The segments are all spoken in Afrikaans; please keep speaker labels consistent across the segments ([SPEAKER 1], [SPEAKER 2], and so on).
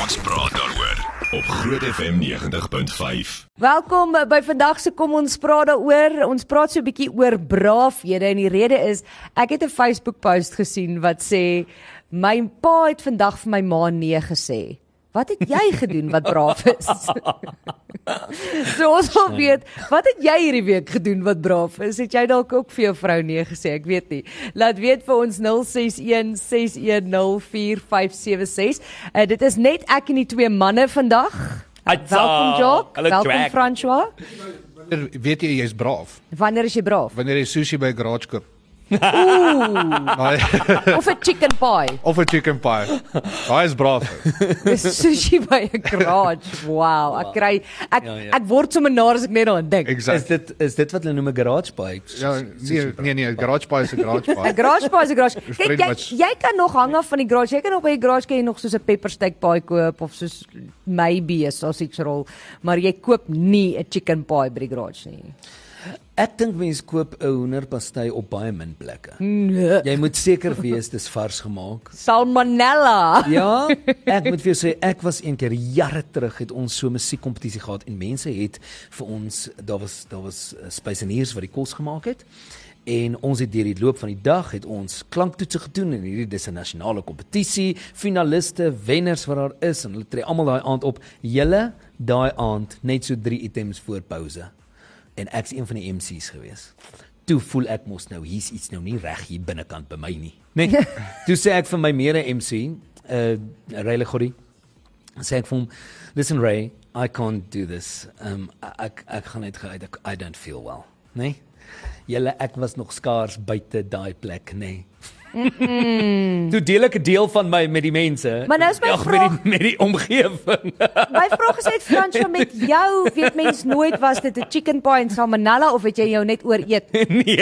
[SPEAKER 1] Ons praat daaroor op Groot FM 90.5.
[SPEAKER 2] Welkom by vandag se kom ons praat daaroor. Ons praat so 'n bietjie oor braafhede en die rede is ek het 'n Facebook post gesien wat sê my pa het vandag vir my ma nee gesê. Wat het jy gedoen wat braaf is? so ons wil weet, wat het jy hierdie week gedoen wat braaf is? Het jy dalk ook vir jou vrou nee gesê? Ek weet nie. Laat weet vir ons 061 6104576. Uh, dit is net ek en die twee manne vandag.
[SPEAKER 3] Hatsa.
[SPEAKER 2] Welkom Jock.
[SPEAKER 3] Hallo,
[SPEAKER 2] Welkom
[SPEAKER 3] Jack.
[SPEAKER 2] François.
[SPEAKER 4] Wanneer weet jy jy's braaf?
[SPEAKER 2] Wanneer is jy braaf?
[SPEAKER 4] Wanneer jy sushi by 'n garage koop.
[SPEAKER 2] Of 'n chicken pie.
[SPEAKER 4] of 'n chicken pie. Daai is braaf.
[SPEAKER 2] Dis sushi by 'n garage. Wow, ek kry ek
[SPEAKER 3] Ja, ja.
[SPEAKER 2] ek word sommer naar as ek net daaraan dink.
[SPEAKER 3] Is
[SPEAKER 4] Exact.
[SPEAKER 3] dit is dit wat hulle noem 'n garage bike?
[SPEAKER 4] Ja, nee, nee, nee, 'n garage pie is 'n garage
[SPEAKER 2] 'n
[SPEAKER 4] pie.
[SPEAKER 2] Garage pie is 'n garage. Kyk,
[SPEAKER 4] Pretty
[SPEAKER 2] jy,
[SPEAKER 4] much.
[SPEAKER 2] jy kan nog hang af van die garage. Jy kan op by die garage kan jy nog soos 'n peppersteak pie koop of soos maybe 'n sausage roll, maar jy koop nie 'n chicken pie by die garage nie.
[SPEAKER 3] Ek dink mense koop 'n hoenderpastei op baie min plekke. Jy moet seker wees dis vars gemaak.
[SPEAKER 2] Salmonella.
[SPEAKER 3] Ja, ek moet vir jou sê ek was een keer jare terug het ons so 'n musiekkompetisie gehad en mense het vir ons daar was daar was eh, spyseners wat die kos gemaak het. En ons het deur die loop van die dag het ons klanktoetse gedoen en hierdie dis 'n nasionale kompetisie, finaliste, wenners wat daar is en hulle tree almal daai aand op. Julle daai aand net so 3 items voor pouse. En ek's een van die MC's gewees. Toe voel ek mos nou hier's iets nou nie reg hier binnekant by my nie. Net toe sê ek vir my mede MC, uh Rayle Gordy, sê ek vir hom, "Listen Ray, I can't do this. Um ek ek gaan net geuit ek I don't feel well." Nee. Julle ek was nog skaars buite daai plek, nee. Mm. Toe deel ek 'n deel van my met die mense.
[SPEAKER 2] Maar nou is my
[SPEAKER 3] Ag, met
[SPEAKER 2] vraag-
[SPEAKER 3] die, met die omgewing.
[SPEAKER 2] My vraag is uit Fransjo met jou, weet mens nooit was dit 'n chicken pie en salmonella of het jy jou net ooreet?
[SPEAKER 3] nee,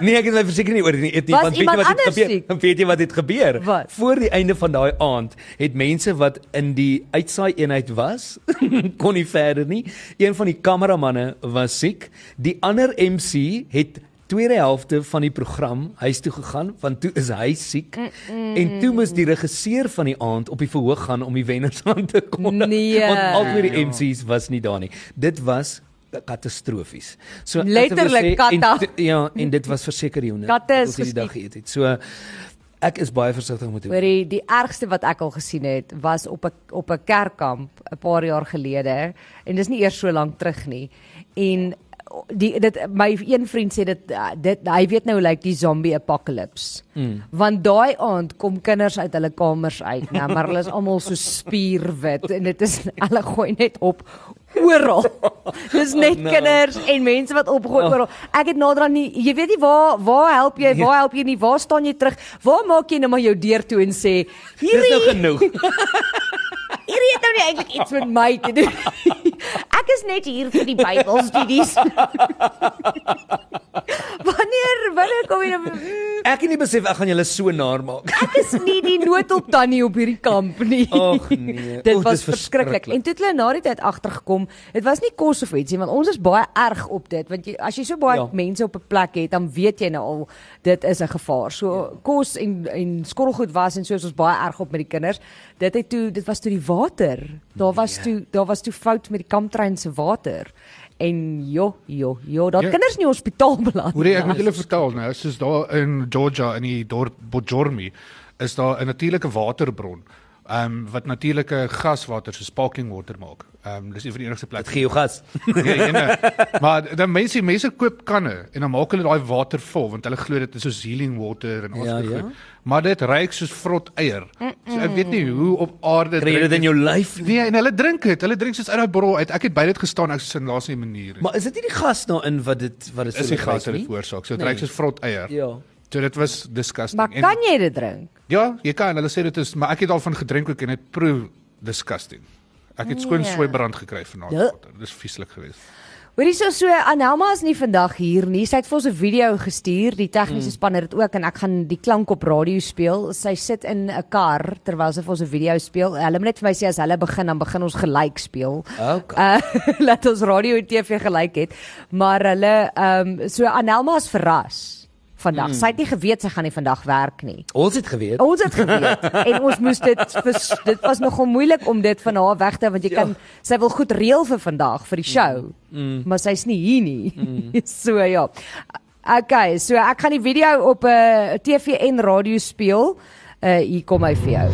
[SPEAKER 3] nee, ek het my verseker nie oor nie eet nie,
[SPEAKER 2] Was
[SPEAKER 3] want weet
[SPEAKER 2] iemand
[SPEAKER 3] jy wat het
[SPEAKER 2] anders
[SPEAKER 3] gebeur?
[SPEAKER 2] siek?
[SPEAKER 3] Weet jy wat het gebeur?
[SPEAKER 2] Wat?
[SPEAKER 3] Voor die einde van daai aand het mense wat in die uitsaai eenheid was, kon nie verder nie. Een van die kameramanne was siek. Die ander MC het tweede helfte van die program huis toe gegaan want toe is hy siek mm -mm. en toe moes die regisseur van die aand op die verhoog gaan om die wenners aan te kondig
[SPEAKER 2] Nee.
[SPEAKER 3] want albei die
[SPEAKER 4] Ja.
[SPEAKER 3] MC's was nie daar nie dit was katastrofies so ek wil
[SPEAKER 2] Letterlik
[SPEAKER 3] sê, en
[SPEAKER 2] kata.
[SPEAKER 3] toe- Ja, en dit was verseker die honde.
[SPEAKER 2] Katte is
[SPEAKER 3] wat ons hierdie dag
[SPEAKER 2] geskiet.
[SPEAKER 3] geëet het. So ek is baie versigtig met hoe.
[SPEAKER 2] Hoorie, die ergste wat ek al gesien het was op 'n op 'n kerkkamp 'n paar jaar gelede en dis nie eers so lank terug nie. En die dit my een vriend sê dit uh, dit hy weet nou hoe lyk die zombie apocalypse. Mm. Want daai aand kom kinders uit hulle kamers uit, nou, maar hulle is almal so spierwit en dit is hulle gooi net op oral. Dis net oh, no. kinders en mense wat opgooi oh. oral. Ek het naderhand nie jy weet nie waar waar help jy, waar help jy nie, waar staan jy terug? Waar maak jy nou maar jou deur toe en sê
[SPEAKER 3] Dis nou
[SPEAKER 2] hierdie
[SPEAKER 3] genoeg.
[SPEAKER 2] hierdie het nou nie eintlik iets met my te doen. Ek is net hier vir die Bybelstudies. wanneer wanneer kom jy nou "Mm,
[SPEAKER 3] Ek het nie besef ek gaan julle so naar maak.
[SPEAKER 2] ek is nie die noodhulp tannie op hierdie kamp nie.
[SPEAKER 3] Ag, nee.
[SPEAKER 2] Dit
[SPEAKER 3] O,
[SPEAKER 2] was
[SPEAKER 3] dis
[SPEAKER 2] verskriklik.
[SPEAKER 3] verskriklik.
[SPEAKER 2] En toe het hulle na die tyd agtergekom, dit was nie kos of ietsie want ons is baie erg op dit want jy as jy so baie ja.
[SPEAKER 3] Ja.
[SPEAKER 2] mense op 'n plek het, dan weet jy nou al dit is 'n gevaar. So ja. kos en en skorrelgoed was en so is ons baie erg op met die kinders. Dit het toe dit was toe die water. Daar was toe daar was toe fout met die kamptrein se water. En jo, jo, jo, dat ja.
[SPEAKER 4] Ja.
[SPEAKER 2] kinders nie hospitaal beland.
[SPEAKER 4] Hoor jy, ek
[SPEAKER 3] Ja.
[SPEAKER 4] moet julle vertel nou, soos daar in Georgia in die dorp Bojormi is daar 'n natuurlike waterbron. Ehm um, wat natuurlike gaswater so sparkling water maak. Ehm um, dis een van die enigste
[SPEAKER 3] Dit
[SPEAKER 4] plekke.
[SPEAKER 3] gee jou gas.
[SPEAKER 4] Nee, ene. Maar dan mense mense koop kanne en dan maak hulle daai water vol want hulle glo dit is soos healing water en alles
[SPEAKER 3] Ja,
[SPEAKER 4] daai
[SPEAKER 3] ja.
[SPEAKER 4] goed. Maar dit ruik soos vrot eier. So ek weet nie hoe op aarde
[SPEAKER 3] Kry jy
[SPEAKER 4] drink
[SPEAKER 3] dit in jou lyf?
[SPEAKER 4] Nee, en hulle drink dit. Hulle drink soos uit daai bottel uit. Ek het by dit gestaan, ek sin laas nie manier. nie.
[SPEAKER 3] Maar is dit nie die gas daarin wat dit wat dit
[SPEAKER 4] is
[SPEAKER 3] so
[SPEAKER 4] die
[SPEAKER 3] lyk
[SPEAKER 4] gas wat
[SPEAKER 3] nie?
[SPEAKER 4] dit veroorsaak. So dit
[SPEAKER 3] Nee.
[SPEAKER 4] ruik soos vrot eier.
[SPEAKER 3] Ja.
[SPEAKER 4] So dit was disgusting.
[SPEAKER 2] Maar kan jy dit drink?
[SPEAKER 4] En, ja, jy kan. Hulle sê dit is, maar ek het daarvan gedrink ook en dit proe disgusting. Ek het skoon
[SPEAKER 2] Nee.
[SPEAKER 4] swybrand gekry vanaand.
[SPEAKER 2] Ja.
[SPEAKER 4] water. Dis vieslik geweest.
[SPEAKER 2] Hoorie so so Anelma is nie vandag hier nie. Sy het vir ons 'n video gestuur. Die tegniese span het dit ook en ek gaan die klank op radio speel. Sy sit in 'n kar terwyl sy vir ons 'n video speel. Hulle moet net vir my sê as hulle begin dan begin ons gelyk speel.
[SPEAKER 3] Okay.
[SPEAKER 2] Uh laat ons radio en TV gelyk het. Maar hulle ehm um, so Anelma is verras vandag. Sy het nie geweet sy gaan nie vandag werk nie.
[SPEAKER 3] Ons het geweet.
[SPEAKER 2] Ons het geweet en ons moes dit vers- dit was nogal moeilik om dit van haar weg te want jy
[SPEAKER 3] Ja.
[SPEAKER 2] kan sy wil goed reël vir vandag vir die show.
[SPEAKER 3] Mm.
[SPEAKER 2] Maar sy's nie hier nie. so ja. Okay, so ek gaan die video op 'n uh, TV en radio speel. Uh hier kom hy vir jou.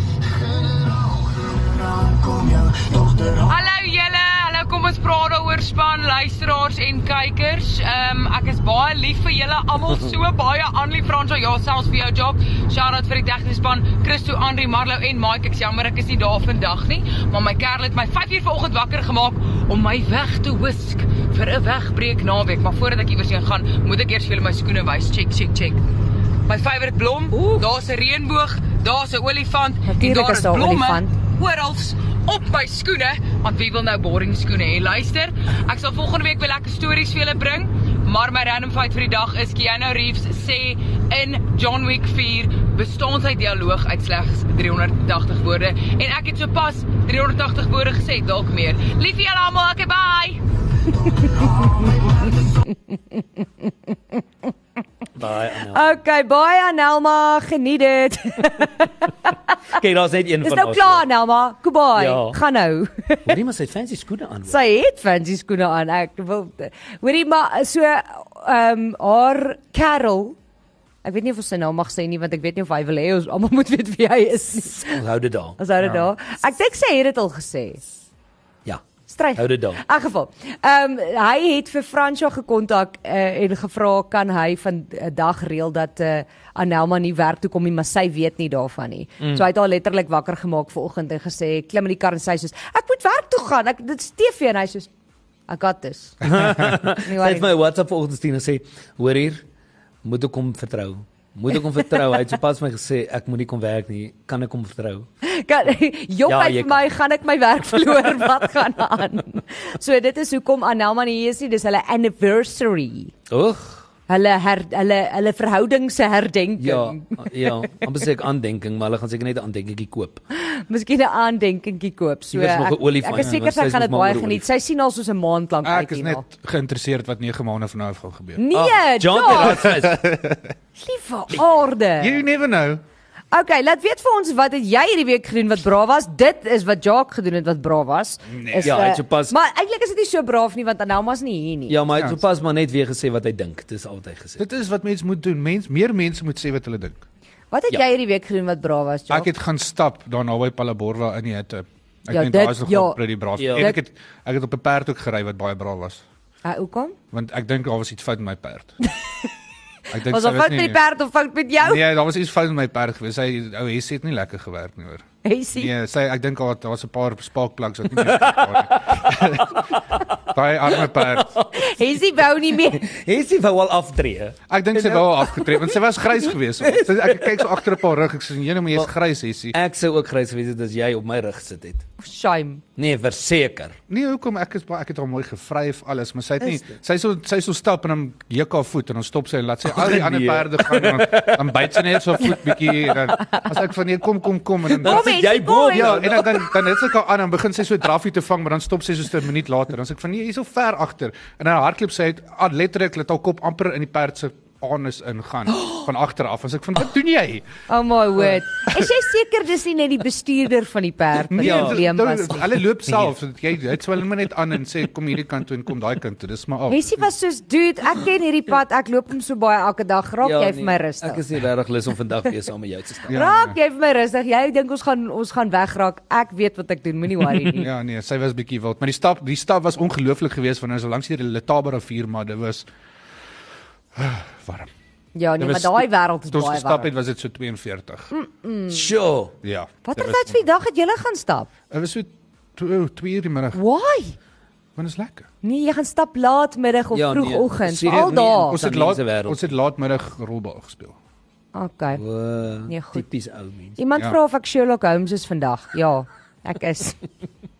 [SPEAKER 5] Hallo julle, hallo kom ons praat daaroor span luisteraars en kykers. Ehm um, ek is baie lief vir julle almal so baie. Anlie Franso, ja selfs vir jou job. Shout out vir die tegniese span, Christo, Andri, Marlo en Mike. Ek's jammer ek is nie daar vandag nie, maar my kerel het my 5uur vanoggend wakker gemaak om my weg te whisk vir 'n wegbreek naweek. Maar voordat ek iewers heen gaan, moet ek eers vir julle my skoene wys. Check, check, check. My favourite blom, daar's 'n reënboog, daar's 'n olifant en
[SPEAKER 2] Natuurlijk
[SPEAKER 5] daar
[SPEAKER 2] is
[SPEAKER 5] is
[SPEAKER 2] daar 'n
[SPEAKER 5] blomme
[SPEAKER 2] olifant.
[SPEAKER 5] oral op my skoene, want wie wil nou boring skoene hê? Luister, ek sal volgende week weer lekker stories vir julle bring, maar my random feit vir die dag is Keanu Reeves sê in John Wick 4 bestaan sy dialoog uit slegs 380 woorde en ek het sopas 380 woorde gesê, dalk meer. Lief vir julle almal, okay, bye.
[SPEAKER 3] Baie Anel.
[SPEAKER 2] Okay, baie Anelma, geniet dit.
[SPEAKER 3] Kyk, daar's net een
[SPEAKER 2] Dis
[SPEAKER 3] van
[SPEAKER 2] nou klaar Anelma. Goodbye.
[SPEAKER 3] Ja.
[SPEAKER 2] Gaan nou.
[SPEAKER 3] Hoorie maar sy het fancy skoene aan.
[SPEAKER 2] Sy het fancy skoene aan. Ek wil hoorie maar so ehm um, haar Carol Ek weet nie of ons sy naam mag sê nie want ek weet nie of hy wil hê ons almal moet weet wie hy is nie.
[SPEAKER 3] Ons hou dit daar.
[SPEAKER 2] Ons hou dit daar. Ek dink sy het dit al gesê.
[SPEAKER 3] Ja.
[SPEAKER 2] Stryg.
[SPEAKER 3] Hou dit daar.
[SPEAKER 2] In elk geval. Ehm um, hy het vir Fransjo gekontak uh, en gevra kan hy van 'n dag reël dat eh uh, Anelma nie werk toe kom nie, maar sy weet nie daarvan nie. Mm. So hy het haar letterlik wakker gemaak vanoggend en gesê klim in die kar en sy sê ek moet werk toe gaan. Ek dit is TV en hy sê I got this. nie
[SPEAKER 3] Sy
[SPEAKER 2] worry.
[SPEAKER 3] het my WhatsApp vanoggend gestuur en sê, "Hoor hier, moet ek hom vertrou." Moet ek hom vertrou? Hy het sopas my gesê ek moenie kom werk nie. Kan ek hom vertrou?
[SPEAKER 2] Kan jop
[SPEAKER 3] Ja,
[SPEAKER 2] ja,
[SPEAKER 3] jy
[SPEAKER 2] uit vir my gaan ek my werk verloor. Wat gaan aan? So dit is hoekom Anelma nie hier is nie. Dis hulle anniversary.
[SPEAKER 3] Oeg.
[SPEAKER 2] Hulle her, hulle hulle verhouding se herdenking.
[SPEAKER 3] Ja, ja, amper sê ek aandenking, maar hulle gaan seker net 'n aandenkingie koop.
[SPEAKER 2] Nee, Miskien 'n aandenkingie koop. So
[SPEAKER 3] Hier is nog 'n
[SPEAKER 2] ek,
[SPEAKER 3] olifant,
[SPEAKER 2] ek is
[SPEAKER 3] ja,
[SPEAKER 2] seker
[SPEAKER 3] want sy
[SPEAKER 2] sy
[SPEAKER 3] is Ah,
[SPEAKER 2] gaan
[SPEAKER 3] nog
[SPEAKER 2] dit
[SPEAKER 3] maar
[SPEAKER 2] baie
[SPEAKER 3] oor
[SPEAKER 2] geniet. Sy sien al soos 'n maand lank uit
[SPEAKER 4] Ek is
[SPEAKER 2] hierna.
[SPEAKER 4] net geïnteresseerd wat 9 maande van nou af gaan gebeur.
[SPEAKER 2] Nee,
[SPEAKER 3] Ah, John het
[SPEAKER 2] John,
[SPEAKER 3] raadvis.
[SPEAKER 2] liewe orde.
[SPEAKER 4] You never know.
[SPEAKER 2] Okay, laat weet vir ons wat het jy hierdie week gedoen wat braaf was? Dit is wat Jacques gedoen het wat braaf was. Is,
[SPEAKER 3] Ja, hy het
[SPEAKER 2] eh,
[SPEAKER 3] sopas-
[SPEAKER 2] Maar eintlik is dit nie so braaf nie want Anelma's nie hier nie.
[SPEAKER 3] Ja, maar hy het sopas maar net weer gesê wat hy dink. Dis al wat hy gesê het.
[SPEAKER 4] Dit is wat mense moet doen. Mens, meer mense moet sê wat hulle dink.
[SPEAKER 2] Wat het
[SPEAKER 3] Ja.
[SPEAKER 2] jy hierdie week gedoen wat braaf was, Jock?
[SPEAKER 4] Ek het gaan stap daar naby Palaborwa in die hitte. Ek
[SPEAKER 2] Ja,
[SPEAKER 4] dink
[SPEAKER 2] dit-
[SPEAKER 4] daar is nog
[SPEAKER 2] ja.
[SPEAKER 4] ja, pretty braaf.
[SPEAKER 3] Ja.
[SPEAKER 4] Ja. En ek het ek het op 'n perd ook gery wat baie braaf was,
[SPEAKER 2] Ah, hoekom?
[SPEAKER 4] want ek dink daar was iets fout met my perd. Ek dink
[SPEAKER 2] Was
[SPEAKER 4] sy
[SPEAKER 2] daar
[SPEAKER 4] was
[SPEAKER 2] fout met die
[SPEAKER 4] nie.
[SPEAKER 2] perd of fout met jou?
[SPEAKER 4] Nee, daar was iets fout met my perd gewees. Sy ou Hess het nie lekker gewerk nie hoor.
[SPEAKER 2] Hy sê
[SPEAKER 4] Nee, sy ek dink daar daar was 'n paar spaakplugs wat nie meer daar nie. Daai arme perd.
[SPEAKER 3] Nee.
[SPEAKER 2] hy sê wou nie meer.
[SPEAKER 3] Hy sê wou al aftree.
[SPEAKER 4] Ek dink sy wou haar afgetrek want sy was grys geweest. Sy ek kyk so agter op haar rug. Ek sê jene maar jy's grys Hessie.
[SPEAKER 3] Ek sou ook grys gewees het as jy op my rug sit het.
[SPEAKER 2] Shame.
[SPEAKER 3] Nee, verseker.
[SPEAKER 4] Nee, hoekom ek is baie- ek het haar mooi gevryf alles, maar sy het nie sy so sy so stap en dan juk haar voet en dan stop sy en laat sy al die ander
[SPEAKER 3] Nee.
[SPEAKER 4] perde gaan en dan, dan byt sy net so haar voet bietjie en dan as ek van nee kom kom kom en dan
[SPEAKER 3] Dan
[SPEAKER 2] Kom,
[SPEAKER 3] sit
[SPEAKER 2] Essie,
[SPEAKER 3] jy bo.
[SPEAKER 2] kom,
[SPEAKER 4] Ja, en dan dan dan het sy haar aan en begin sy so draffie te vang, maar dan stop sy so 'n minuut later. Dan sê ek van nee, hier's so ver agter. En dan hardloop sy uit ah, letterlik laat haar kop amper in die perd se anus ingaan van agter af. As ek van wat doen jy?
[SPEAKER 2] Oh my
[SPEAKER 4] Eh.
[SPEAKER 2] word. Is jy seker dis nie net die bestuurder van die perd wat die
[SPEAKER 4] Nee,
[SPEAKER 2] probleem
[SPEAKER 4] dit-
[SPEAKER 2] was Nee.
[SPEAKER 4] dit-
[SPEAKER 2] nie?
[SPEAKER 4] Hulle loop self, so dat jy dit swaal maar net aan en sê kom hierdie kant toe en kom daai kant toe. Dis maar af.
[SPEAKER 2] Hessie was soos, "Dude, ek ken hierdie pad. Ek loop hom so baie elke dag. Raak ja, jy vir my
[SPEAKER 3] nee, Ek
[SPEAKER 2] rustig."
[SPEAKER 3] is nie regtig lus om vandag weer saam met jou te staan.
[SPEAKER 4] nee. Ja,
[SPEAKER 2] Raak jy vir my rustig. Jy dink ons gaan ons gaan wegraak. Ek weet wat ek doen. Moenie worry nie.
[SPEAKER 4] Ja nee, sy was bietjie wild, maar die stap die stap was ongelooflik geweest want ons was langs die Letaba rivier, maar dit was warm.
[SPEAKER 2] Ja, nee,
[SPEAKER 4] Dit
[SPEAKER 2] maar
[SPEAKER 4] was-
[SPEAKER 2] daai wêreld is
[SPEAKER 4] Toe ons
[SPEAKER 2] baie
[SPEAKER 4] gestap
[SPEAKER 2] warm. Hm.
[SPEAKER 4] het was dit so 42.
[SPEAKER 3] Sjoe.
[SPEAKER 4] Ja.
[SPEAKER 2] Watter
[SPEAKER 4] dit was-
[SPEAKER 2] tyd van die dag het jy gaan stap?
[SPEAKER 4] Dit was so 2 2 uur die middag,
[SPEAKER 2] Why?
[SPEAKER 4] want dit is lekker.
[SPEAKER 2] Nee, jy gaan stap laatmiddag of
[SPEAKER 3] Ja,
[SPEAKER 2] ja,
[SPEAKER 3] nee,
[SPEAKER 2] vroegoggend,
[SPEAKER 3] serie-
[SPEAKER 2] nee, al
[SPEAKER 3] nee,
[SPEAKER 2] daar.
[SPEAKER 4] Ons het laat
[SPEAKER 3] Tamiese wêreld.
[SPEAKER 4] ons het laatmiddag rolbal gespeel.
[SPEAKER 2] Okay.
[SPEAKER 3] Uh,
[SPEAKER 2] Nee, goed.
[SPEAKER 3] tipies ou mense.
[SPEAKER 2] Iemand
[SPEAKER 4] Ja.
[SPEAKER 2] vra of ek Sherlock Holmes is vandag. Ja, ek is.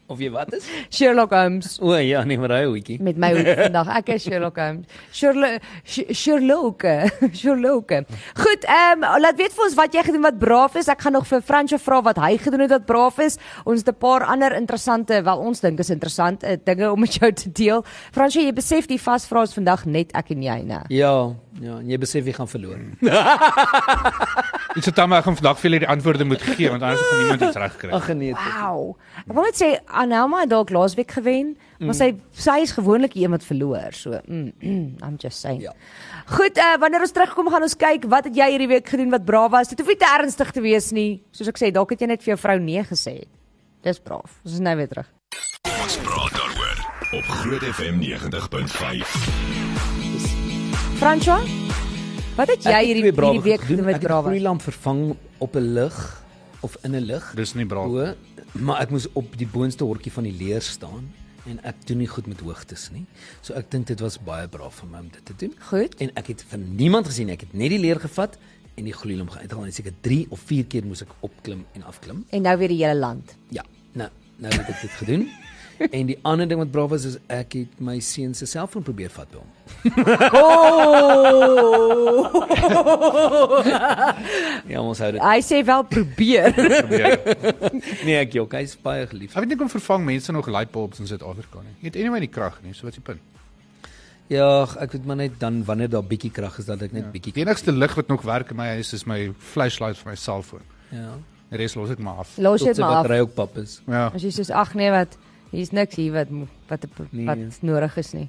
[SPEAKER 3] Of jy wat is?
[SPEAKER 2] Sherlock Holmes
[SPEAKER 3] O ja, nee, maar hy hoetjie.
[SPEAKER 2] met my hoed vandag. Ek is Ah, Sherlock Holmes. Sherlock Sh- Sherlock Sherlock. Goed, ehm laat weet vir ons wat jy gedoen wat braaf is. Ek gaan nog vir Fransjo vra wat hy gedoen het wat braaf is. Ons het 'n paar ander interessante, wel ons dink is interessant eh, dinge om met jou te deel. Fransjo, jy besef die vasvra is vandag net ek en jy, né?
[SPEAKER 3] Ja, ja, en jy besef jy gaan verloor.
[SPEAKER 4] Dit sê dan maar ek gaan vandag vir julle die antwoorde moet gee want anders gaan niemand iets reg kry.
[SPEAKER 3] Ag nee. dit-
[SPEAKER 2] Wow. Ek wil net sê Anelma het dalk laasweek gewen,
[SPEAKER 3] Mm.
[SPEAKER 2] maar sy sy is gewoonlik die een wat verloor. So, mm, mm, I'm just saying.
[SPEAKER 3] Ja.
[SPEAKER 2] Goed, uh, wanneer ons terugkom gaan ons kyk wat het jy hierdie week gedoen wat braaf was. Dit hoef nie te ernstig te wees nie. Soos ek sê, dalk het jy net vir jou vrou nee gesê. Dis braaf. Ons is nou weer terug.
[SPEAKER 1] Ons praat daaroor op Groot FM 90.5.
[SPEAKER 2] Franswa, wat het
[SPEAKER 3] Ek
[SPEAKER 2] jy
[SPEAKER 3] het
[SPEAKER 2] hierdie
[SPEAKER 3] twee brawe
[SPEAKER 2] hierdie week
[SPEAKER 3] goed gedoen.
[SPEAKER 2] gedoen wat
[SPEAKER 3] Ek het
[SPEAKER 2] braaf was?
[SPEAKER 3] gloeilamp vervang op 'n lig of in 'n lig.
[SPEAKER 4] Dis nie braaf.
[SPEAKER 3] O, maar ek moes op die boonste hortjie van die leer staan en ek doen nie goed met hoogtes nie. So ek dink dit was baie braaf van my om dit te doen.
[SPEAKER 2] Goed.
[SPEAKER 3] En ek het van niemand gesien nie. Ek het net die leer gevat en die gloeilamp uithaal en seker 3 of 4 keer moes ek opklim en afklim.
[SPEAKER 2] En nou weer die hele land.
[SPEAKER 3] Ja, nou nou het ek dit gedoen. en die ander ding wat braaf was is ek het my seun se selfoon probeer vat by hom.
[SPEAKER 2] Oh!
[SPEAKER 3] Ja, ons hou dit.
[SPEAKER 2] Hy sê wel probeer.
[SPEAKER 4] Ek
[SPEAKER 3] Nee, ek jok, hy's baie geliefd.
[SPEAKER 4] weet nie kom vervang mense nog lightbulbs in Suid-Afrika nie. Jy het anyway nie krag nie, so wat is die punt?
[SPEAKER 3] Ja, ek weet maar net dan wanneer daar bietjie krag is dat ek
[SPEAKER 2] Ja.
[SPEAKER 3] net bietjie
[SPEAKER 4] Die enigste lig wat nog werk in my huis is my flashlight van my selfoon.
[SPEAKER 3] Ja.
[SPEAKER 4] Die res los ek maar af.
[SPEAKER 2] Los dit maar af.
[SPEAKER 3] battery ook pap is.
[SPEAKER 4] Ja.
[SPEAKER 2] As jy sê ag nee wat hier's niks hier wat mo- wat
[SPEAKER 3] Nee.
[SPEAKER 2] nee. wat nodig is nie.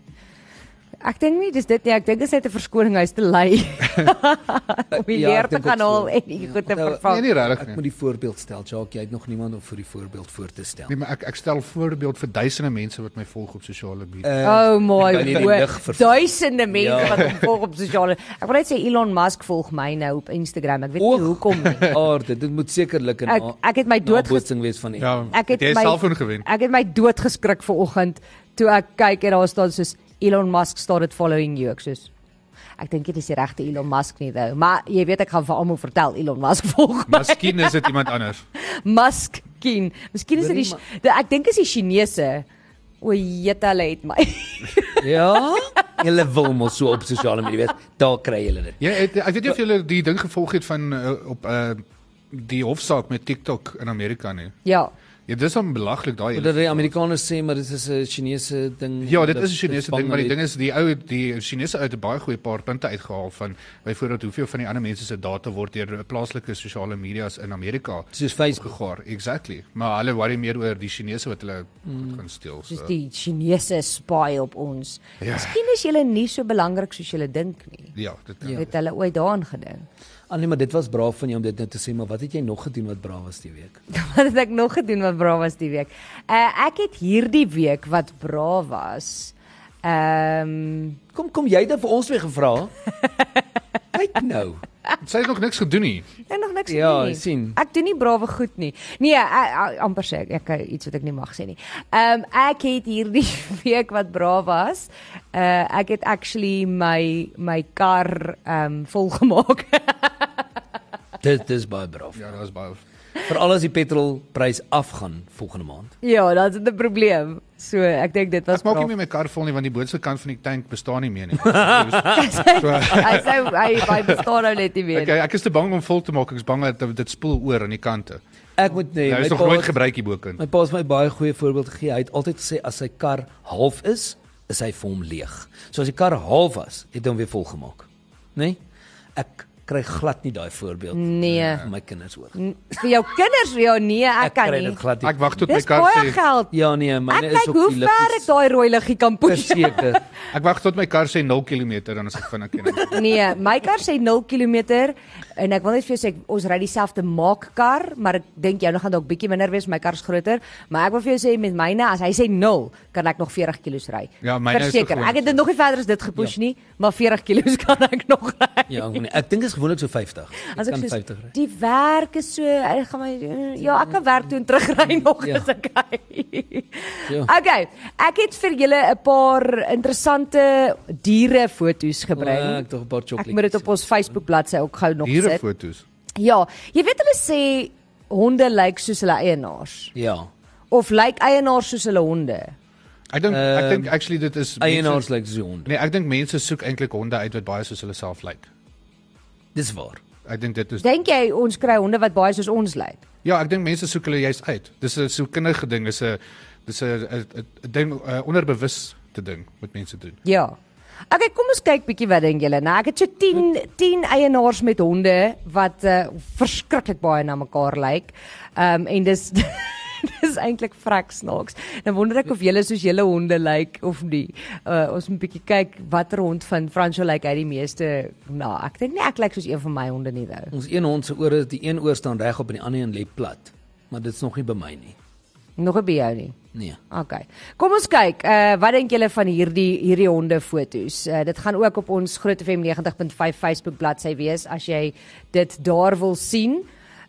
[SPEAKER 2] Ek dink nie dis dit nie. Ek dink dit is net 'n verskoning hy's te lui om die
[SPEAKER 3] Ja,
[SPEAKER 2] ja, leer
[SPEAKER 3] ek
[SPEAKER 2] te
[SPEAKER 3] dink
[SPEAKER 2] gaan
[SPEAKER 3] ook so.
[SPEAKER 2] haal en die goed te
[SPEAKER 3] Nou,
[SPEAKER 2] vervang.
[SPEAKER 4] Nee, nie regtig
[SPEAKER 3] Ek
[SPEAKER 4] nie.
[SPEAKER 3] moet die voorbeeld stel, Jacques, jy het nog niemand om vir die voorbeeld voor te stel.
[SPEAKER 4] Nee, maar ek ek stel voorbeeld vir duisende mense wat my volg op sosiale media.
[SPEAKER 2] Oh my
[SPEAKER 3] kan nie die lig
[SPEAKER 2] god.
[SPEAKER 3] vervang.
[SPEAKER 2] Duisende mense
[SPEAKER 3] Ja.
[SPEAKER 2] ja. wat hom volg op sosiale. Ek wil net sê Elon Musk volg my nou op Instagram. Ek weet
[SPEAKER 3] Och.
[SPEAKER 2] nie hoekom nie.
[SPEAKER 3] Aarde, dit moet sekerlik 'n
[SPEAKER 2] Ek- ek het my dood ges-
[SPEAKER 3] gesing wees van
[SPEAKER 4] Ja,
[SPEAKER 3] ja.
[SPEAKER 2] Ek het
[SPEAKER 4] jy
[SPEAKER 2] my
[SPEAKER 4] selfoon gewen.
[SPEAKER 2] Ek het my dood geskrik ver oggend toe ek kyk en daar staan soos Elon Musk staan dit following you ek soos Ek dink dit is die regte Elon Musk nie nou, maar jy weet ek gaan vir almal vertel Elon Musk volg my.
[SPEAKER 4] Miskien is dit iemand anders.
[SPEAKER 2] Musk kien. Miskien is dit die,
[SPEAKER 3] Hoorie,
[SPEAKER 2] die ek dink is die Chinese. O, jette hulle het my.
[SPEAKER 3] Ja. Julle wil mos so op sosiale media wees. Daar kry julle dit.
[SPEAKER 4] Ja, het, ek weet nie of julle die ding gevolg het van uh, op uh die hofsaak met TikTok in Amerika nie.
[SPEAKER 2] Ja.
[SPEAKER 4] Ja, dis hom belaglik daai.
[SPEAKER 3] Dat die Amerikaners sê maar dit is 'n Chinese ding.
[SPEAKER 4] Ja, dit
[SPEAKER 3] Dat-
[SPEAKER 4] is 'n
[SPEAKER 3] dit
[SPEAKER 4] Chinese
[SPEAKER 3] vang
[SPEAKER 4] ding, maar die
[SPEAKER 3] hulle
[SPEAKER 4] ding is die ou die Chinese uit 'n baie goeie paar punte uitgehaal van byvoorbeeld hoeveel van die ander mense se data word deur plaaslike sosiale media's in Amerika
[SPEAKER 3] soos Facebook.
[SPEAKER 4] gegaar. Exactly. Maar hulle worry meer oor die Chinese wat hulle mm. gaan steel.
[SPEAKER 2] Dis
[SPEAKER 4] So.
[SPEAKER 2] die Chinese spy op ons.
[SPEAKER 4] Ja.
[SPEAKER 2] Miskien is julle nie so belangrik soos julle dink nie.
[SPEAKER 4] Ja, dit ja.
[SPEAKER 2] Het hulle ooit daaraan gedink?
[SPEAKER 3] Ah nee, maar dit was braaf van jou om dit nou te sê, maar wat het jy nog gedoen wat braaf was die week?
[SPEAKER 2] wat het ek nog gedoen wat braaf was die week? Uh ek het hierdie week wat braaf was. Ehm um,
[SPEAKER 3] Kom kom jy dit vir ons weer gevra? Kyk nou.
[SPEAKER 4] Sy het nog niks gedoen nie.
[SPEAKER 2] en nog niks
[SPEAKER 3] Ja,
[SPEAKER 2] gedoen nie.
[SPEAKER 3] ek sien.
[SPEAKER 2] Ek doen nie brawe goed nie. Nee, ek, ek, amper sê ek, ek iets wat ek nie mag sê nie. Ehm um, ek het hierdie week wat braaf was. Uh ek het actually my my kar ehm um, vol gemaak.
[SPEAKER 3] Dit dis baie braaf.
[SPEAKER 4] Ja, daar's baie.
[SPEAKER 3] Veral as die petrolprys afgaan volgende maand.
[SPEAKER 2] ja, dit is 'n probleem. So ek dink dit was
[SPEAKER 4] Ek maak nie
[SPEAKER 2] braaf.
[SPEAKER 4] meer my kar vol nie want die boonste kant van die tank bestaan nie meer nie.
[SPEAKER 2] Hy sê hy hy bestaan nou net nie meer.
[SPEAKER 4] Ek ek is te bang om vol te maak. Ek is bang dat dit spoel oor aan die kante.
[SPEAKER 3] Ek moet nee,
[SPEAKER 4] Daar Nou,
[SPEAKER 3] my
[SPEAKER 4] is nog
[SPEAKER 3] pa
[SPEAKER 4] nooit
[SPEAKER 3] het-
[SPEAKER 4] gebruik hierbokan.
[SPEAKER 3] My pa het my baie goeie voorbeeld gegee. Hy het altyd gesê as sy kar half is, is hy vir hom leeg. So as die kar half was, het hy hom weer vol gemaak. Né? Nee? Ek kry glad nie daai voorbeeld
[SPEAKER 2] Nee.
[SPEAKER 3] van my kinders hoor.
[SPEAKER 2] N- vir jou kinders ja nee ek,
[SPEAKER 3] Ek
[SPEAKER 2] kan
[SPEAKER 3] kry
[SPEAKER 2] nie
[SPEAKER 3] dit glad
[SPEAKER 4] Ek
[SPEAKER 3] nie.
[SPEAKER 4] wag tot my
[SPEAKER 2] dis
[SPEAKER 4] kar
[SPEAKER 2] baie
[SPEAKER 4] sê
[SPEAKER 2] geld
[SPEAKER 3] Ja nee,
[SPEAKER 2] ek
[SPEAKER 3] myne is
[SPEAKER 2] kyk
[SPEAKER 3] op
[SPEAKER 2] hoe
[SPEAKER 3] die
[SPEAKER 2] ver ek
[SPEAKER 3] liggies.
[SPEAKER 2] daai rooi liggie kan push
[SPEAKER 3] Verseker.
[SPEAKER 4] ek wag tot my kar sê 0 km dan as ek van ek ken.
[SPEAKER 2] nee my kar sê 0 km en ek wil net vir jou sê ek- ons ry dieselfde maakkar maar ek dink jou gaan dalk bietjie minder wees my kar's groter maar ek wil vir jou sê met myne as hy sê 0 kan ek nog 40 km ry
[SPEAKER 4] Ja, myne is
[SPEAKER 2] verseker
[SPEAKER 4] gewoonlik
[SPEAKER 2] ek het dit nog nie verder as dit gepush nie maar 40 km kan ek nog ry
[SPEAKER 3] Ja, ek, ek dink is gewoonlik so 50. Ek
[SPEAKER 2] As ek
[SPEAKER 3] kan
[SPEAKER 2] soos,
[SPEAKER 3] 50 ry.
[SPEAKER 2] die werk is so ek gaan my ja, ek kan werk toe en terugry nog
[SPEAKER 3] Ja.
[SPEAKER 2] as ek hy.
[SPEAKER 3] Ja.
[SPEAKER 2] Okay, ek het vir julle 'n paar interessante diere foto's gebring.
[SPEAKER 3] O, ek dink 'n paar
[SPEAKER 2] ek
[SPEAKER 3] chocolaatjies,
[SPEAKER 2] moet dit op
[SPEAKER 3] ja.
[SPEAKER 2] ons Facebook bladsy ook gou nog
[SPEAKER 4] Hier
[SPEAKER 2] sit.
[SPEAKER 4] is foto's.
[SPEAKER 2] Ja, jy weet hulle sê honde lyk soos hulle eienaars
[SPEAKER 3] Ja.
[SPEAKER 2] of lyk eienaars soos hulle honde?
[SPEAKER 4] Ek dink ek
[SPEAKER 3] Ehm,
[SPEAKER 4] dink actually dit is mense-
[SPEAKER 3] Eienaars lyk so honde.
[SPEAKER 4] Nee, ek dink mense soek eintlik honde uit wat baie soos hulle self lyk.
[SPEAKER 3] Dis waar.
[SPEAKER 4] Ek dink dit is
[SPEAKER 2] Dink jy ons kry honde wat baie soos ons lyk?
[SPEAKER 4] Ja, ek dink mense soek hulle juist uit. Dis 'n sielkundige ding, is 'n dis 'n 'n- 'n- 'n ding uh, onderbewus te ding wat mense doen.
[SPEAKER 2] Ja. Okay, kom ons kyk bietjie wat dink julle. Nou ek het so 10 10 eienaars met honde wat uh, verskriklik baie na mekaar lyk. Ehm um, en dis dis eintlik vrek snaaks. Nou wonder ek of julle soos julle honde lyk of nie. Uh, ons moet bietjie kyk watter hond van Franco lyk hy die meeste na. Ek dink nie ek lyk soos een van my honde nie nou.
[SPEAKER 3] Ons een hond se ore, die een oor staan regop en die ander een lê plat. Maar dit's nog nie by my nie.
[SPEAKER 2] Nog 'n by jou nie.
[SPEAKER 3] Nee.
[SPEAKER 2] Okay. Kom ons kyk. Uh wat dink julle van hierdie hierdie honde fotos? Uh dit gaan ook op ons Groot FM 90.5 Facebook bladsy wees as jy dit daar wil sien.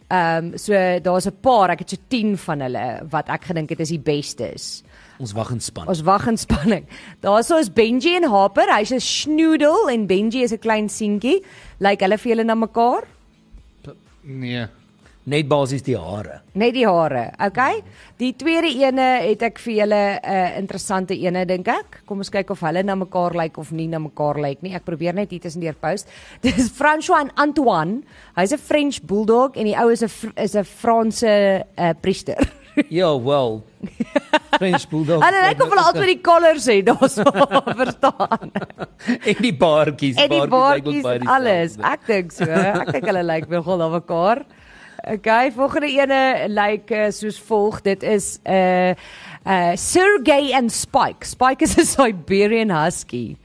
[SPEAKER 2] Ehm um, so daar's 'n paar, ek het so 10 van hulle wat ek gedink het is die bestes.
[SPEAKER 3] Ons wag in spanning.
[SPEAKER 2] Ons wag in spanning. Daarso is Benji en Harper. Hy's 'n snoedel en Benji is 'n klein seentjie. Lyk hulle vir julle na mekaar?
[SPEAKER 4] Nee.
[SPEAKER 3] Net basies die hare.
[SPEAKER 2] Net die hare, okay? Die tweede ene het ek vir julle 'n uh, interessante ene dink ek. Kom ons kyk of hulle na mekaar lyk of nie na mekaar lyk nie. Ek probeer net hier tussendeur post. Dis François en Antoine. Hy's 'n French bulldog en die ou is 'n Fr- is 'n Franse uh, priester.
[SPEAKER 3] Ja, wel. French bulldog.
[SPEAKER 2] Hulle lyk of hulle altyd die collars het daarso, verstaan?
[SPEAKER 3] en die baartjies,
[SPEAKER 2] En die
[SPEAKER 3] baartjies lyk ook
[SPEAKER 2] baartjies
[SPEAKER 3] baie
[SPEAKER 2] en alles.
[SPEAKER 3] dieselfde.
[SPEAKER 2] Ek dink so. Ek dink hulle lyk nogal na mekaar. Okay, volgende ene lyk eh, soos volg. Dit is 'n uh, uh Sergey and Spike. Spike is 'n Siberian husky.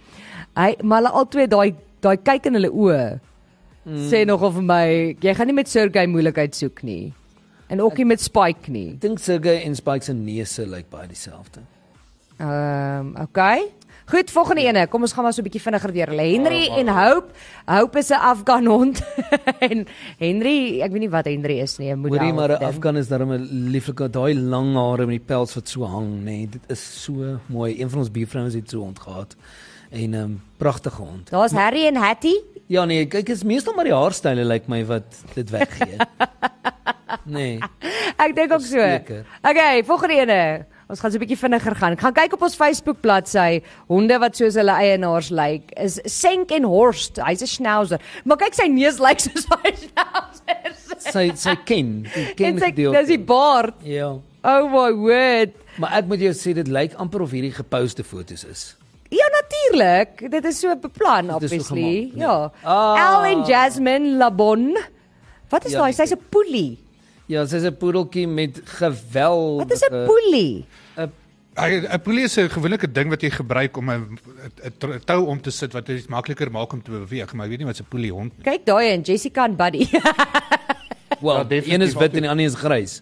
[SPEAKER 2] Hy maar hulle albei daai daai kyk in hulle oë. Sê nogal vir my, jy gaan nie met Sergey moeilikheid soek nie. En ook nie met Spike nie.
[SPEAKER 3] Ek dink Sergey en Spike se neuse lyk baie dieselfde.
[SPEAKER 2] Ehm, okay. Goed, volgende
[SPEAKER 3] Ja.
[SPEAKER 2] ene. Kom ons gaan maar so 'n bietjie vinniger deur. Hulle Henry en Hope. Hope is 'n Afghan hond. en Henry, ek weet nie wat Henry is nie, 'n model.
[SPEAKER 3] Hoorie maar 'n
[SPEAKER 2] ding.
[SPEAKER 3] Afghan is darem 'n lieflike daai lang hare met die pels wat so hang, nê. Nee, dit is so mooi. Een van ons buurvrouens het so 'n hond gehad. En 'n um, pragtige hond.
[SPEAKER 2] Daar's Harry en Hattie.
[SPEAKER 3] Ja nee, kyk, is meestal maar die haarstyle lyk my wat dit weggee. nee.
[SPEAKER 2] Ek dink ook so.
[SPEAKER 3] Verseker.
[SPEAKER 2] Okay, volgende ene. Ons gaan so 'n bietjie vinniger gaan. Gaan kyk op ons Facebook bladsy. Honde wat soos hulle eienaars lyk is Senk en Horst. Hy's 'n schnauzer. Maar kyk sy neus lyk soos hy schnauzer.
[SPEAKER 3] Sy sy ken, sy ken
[SPEAKER 2] En sy
[SPEAKER 3] gedeelte.
[SPEAKER 2] dis die baard.
[SPEAKER 3] Ja.
[SPEAKER 2] Oh my word.
[SPEAKER 3] Maar ek moet jou sê dit lyk amper of hierdie geposte fotos is.
[SPEAKER 2] Ja natuurlik, dit is so beplan
[SPEAKER 3] Dit is so
[SPEAKER 2] obviously.
[SPEAKER 3] gemaak, nee.
[SPEAKER 2] ja.
[SPEAKER 3] Ah.
[SPEAKER 2] Al en Jasmine Labon. Wat is
[SPEAKER 3] Ja,
[SPEAKER 2] daai?
[SPEAKER 3] dit
[SPEAKER 2] Sy's 'n poelie.
[SPEAKER 3] Ja, sy's 'n poedeltjie met geweldige
[SPEAKER 2] Wat is 'n poelie?
[SPEAKER 3] 'n
[SPEAKER 4] Hy 'n poelie is 'n gewillige ding wat jy gebruik om 'n 'n tr- 'n tou om te sit wat dit makliker maak om te beweeg, maar ek weet nie wat 'n poelie hond nie.
[SPEAKER 2] Kyk daai en Jessica en Buddy.
[SPEAKER 3] Wel,
[SPEAKER 4] Ja,
[SPEAKER 3] een is
[SPEAKER 4] definitief,
[SPEAKER 3] wit en die ander is grys.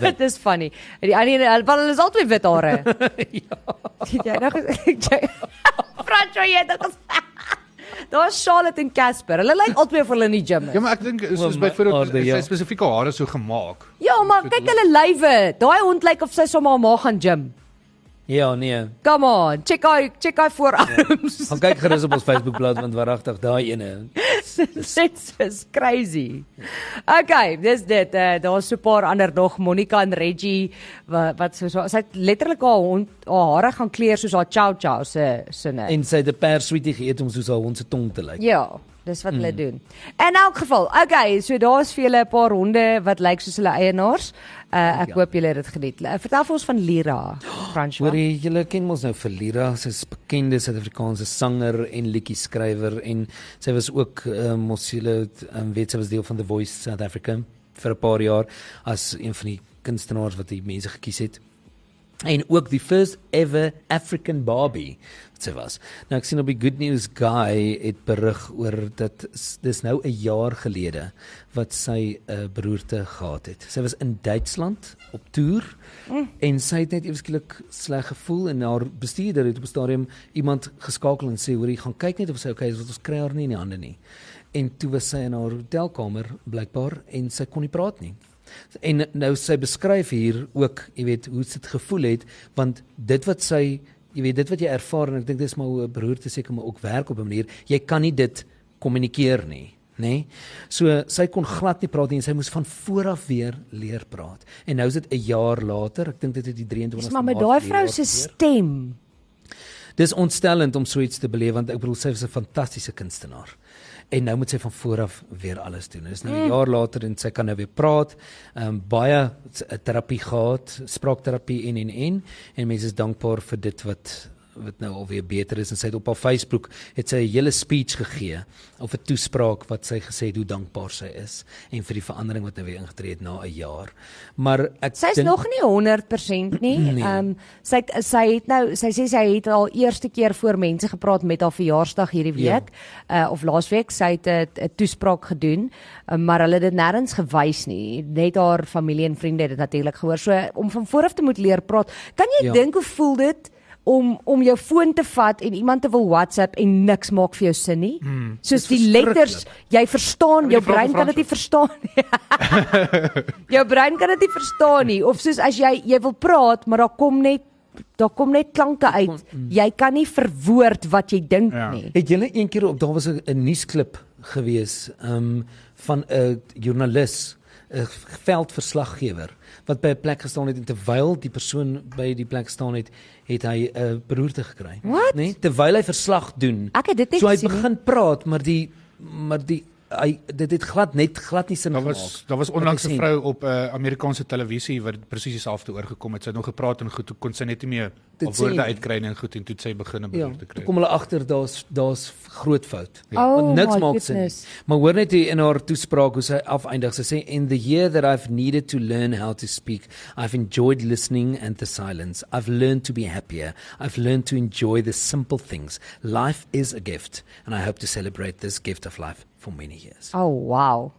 [SPEAKER 2] Dit is funny. En die ander een, want hulle is albei wit hare. ja. Jy nog Franco jy dit. Daar's Charlotte en Casper. Hulle lyk albei of hulle in die gym
[SPEAKER 4] Ja,
[SPEAKER 2] is.
[SPEAKER 4] maar ek dink is
[SPEAKER 3] O,
[SPEAKER 4] soos
[SPEAKER 3] my
[SPEAKER 4] byvoorbeeld
[SPEAKER 3] aarde,
[SPEAKER 4] is
[SPEAKER 3] ja.
[SPEAKER 4] sy spesifieke hare so gemaak.
[SPEAKER 2] Ja, maar kyk hulle lywe. Daai hond lyk of sy sommer maar gaan gym.
[SPEAKER 3] Ja, nee.
[SPEAKER 2] Come on, check hy check hy voorarms.
[SPEAKER 3] Gaan kyk gerus op ons Facebookblad want waaragtig daai ene.
[SPEAKER 2] Dit is crazy. Okay, dis dit. Uh, Daar's so 'n paar ander nog Monica en Reggie wat wat so so sy het letterlik haar hond haar hare gaan kleur soos haar chow chow se sinne.
[SPEAKER 3] En sy het 'n per sweetie geëet om soos haar hond se tong te lyk.
[SPEAKER 2] Ja, dis wat
[SPEAKER 3] Mm.
[SPEAKER 2] hulle doen. In elk geval, okay, so daar's vir julle 'n paar honde wat lyk soos hulle eienaars. Uh, ek
[SPEAKER 3] Ja.
[SPEAKER 2] hoop julle het dit geniet. Uh, vertel vir ons van Lira, Francois.
[SPEAKER 3] Hoor jy, julle ken mos nou Verlira, sy's 'n bekende Suid-Afrikaanse sanger en liedjie-skrywer en sy was ook um, mos julle um, weet sy was deel van The Voice South Africa vir 'n paar jaar as een van die kunstenaars wat die mense gekies het. en ook die first ever African Barbie wat sy was. Nou ek sien op die Good News Guy het berig oor dat s- dis nou 'n jaar gelede wat sy 'n uh, beroerte gehad het. Sy was in Duitsland op toer mm. en sy het net ewe skielik sleg gevoel en haar bestuurder het op 'n stadium iemand geskakel en sê hoor jy gaan kyk net of sy okay is want ons kry haar nie in die hande nie. En toe was sy in haar hotelkamer blykbaar en sy kon nie praat nie. En nou sy beskryf hier ook, jy weet, hoe dit gevoel het want dit wat sy, jy weet, dit wat jy ervaar en ek dink dis maar hoe 'n broer te seker maar ook werk op 'n manier, jy kan nie dit kommunikeer nie, nê? nê? So sy kon glad nie praat nie en sy moes van voor af weer leer praat. En nou is dit 'n jaar later, ek dink dit is die 23ste.
[SPEAKER 2] Dis maar met
[SPEAKER 3] Maart
[SPEAKER 2] daai
[SPEAKER 3] verlede
[SPEAKER 2] vrou
[SPEAKER 3] jaar
[SPEAKER 2] se
[SPEAKER 3] gebeur.
[SPEAKER 2] stem.
[SPEAKER 3] Dis ontstellend om so iets te beleef want ek bedoel sy was 'n fantastiese kunstenaar. En nou moet sy van voor af weer alles doen. Dit is nou 'n jaar later en sy kan nou weer praat. Ehm um, baie s- eh, terapie gehad, spraakterapie en en en en mense is dankbaar vir dit wat wat nou alweer beter is en sy het op haar Facebook het sy 'n hele speech gegee of 'n toespraak wat sy gesê het hoe dankbaar sy is en vir die verandering wat nou weer ingetree het na 'n jaar. Maar ek
[SPEAKER 2] Sy's
[SPEAKER 3] dink-
[SPEAKER 2] nog nie 100% nie. Ehm
[SPEAKER 3] Nee.
[SPEAKER 2] sy het, sy het nou sy sê sy het al eerste keer voor mense gepraat met haar verjaarsdag hierdie
[SPEAKER 3] Ja.
[SPEAKER 2] week uh, of laasweek. Sy het 'n 'n toespraak gedoen, uh, maar hulle het dit nêrens gewys nie. Net haar familie en vriende het dit natuurlik gehoor. So om van voor af te moet leer praat. Kan jy
[SPEAKER 3] Ja.
[SPEAKER 2] dink hoe voel dit? om om jou foon te vat en iemand te wil WhatsApp en niks maak vir jou sin nie.
[SPEAKER 3] Hmm.
[SPEAKER 2] Mm, Soos die letters, jy verstaan,
[SPEAKER 4] die
[SPEAKER 2] jou
[SPEAKER 4] vraag
[SPEAKER 2] brein
[SPEAKER 4] van
[SPEAKER 2] kan dit nie verstaan nie. Jou brein kan dit nie verstaan nie of soos as jy jy wil praat, maar daar kom net daar kom net klanke uit.
[SPEAKER 3] Mm.
[SPEAKER 2] Jy kan nie verwoord wat jy dink
[SPEAKER 4] Ja.
[SPEAKER 2] nie.
[SPEAKER 3] Het julle een keer op daar was 'n 'n nuusklip gewees um van 'n joernalis, 'n veldverslaggewer wat by 'n plek gestaan het en terwyl die persoon by die plek staan het, het hy 'n beroerte gekry.
[SPEAKER 2] Wat?
[SPEAKER 3] Nee, terwyl hy verslag doen.
[SPEAKER 2] Ek het dit nie
[SPEAKER 3] so hy
[SPEAKER 2] gesien nie.
[SPEAKER 3] begin praat, maar die maar die hy dit het glad net glad nie sin
[SPEAKER 4] Daar
[SPEAKER 3] gemaak.
[SPEAKER 4] was daar was
[SPEAKER 3] Wat ek
[SPEAKER 4] onlangs 'n
[SPEAKER 3] sien.
[SPEAKER 4] vrou op 'n uh, Amerikaanse televisie wat presies dieselfde oorgekom het. Sy het nog gepraat en goed, toe kon sy net nie meer
[SPEAKER 3] Dit
[SPEAKER 4] haar
[SPEAKER 3] sê
[SPEAKER 4] woorde
[SPEAKER 3] nie.
[SPEAKER 4] uitkry nie en goed en toe het sy begin 'n
[SPEAKER 3] Ja,
[SPEAKER 4] beroerte
[SPEAKER 3] toe
[SPEAKER 4] kry.
[SPEAKER 3] kom hulle agter daar's daar's groot fout.
[SPEAKER 2] Ja. Oh
[SPEAKER 3] Want niks
[SPEAKER 2] my
[SPEAKER 3] maak sin. nie.
[SPEAKER 2] goodness.
[SPEAKER 3] Maar hoor net hier in haar toespraak hoe sy afeindig. Sy sê in the year that I've needed to learn how to speak, I've enjoyed listening and the silence. I've learned to be happier. I've learned to enjoy the simple things. Life is a gift and I hope to celebrate this gift of life for many years.
[SPEAKER 2] Oh wow.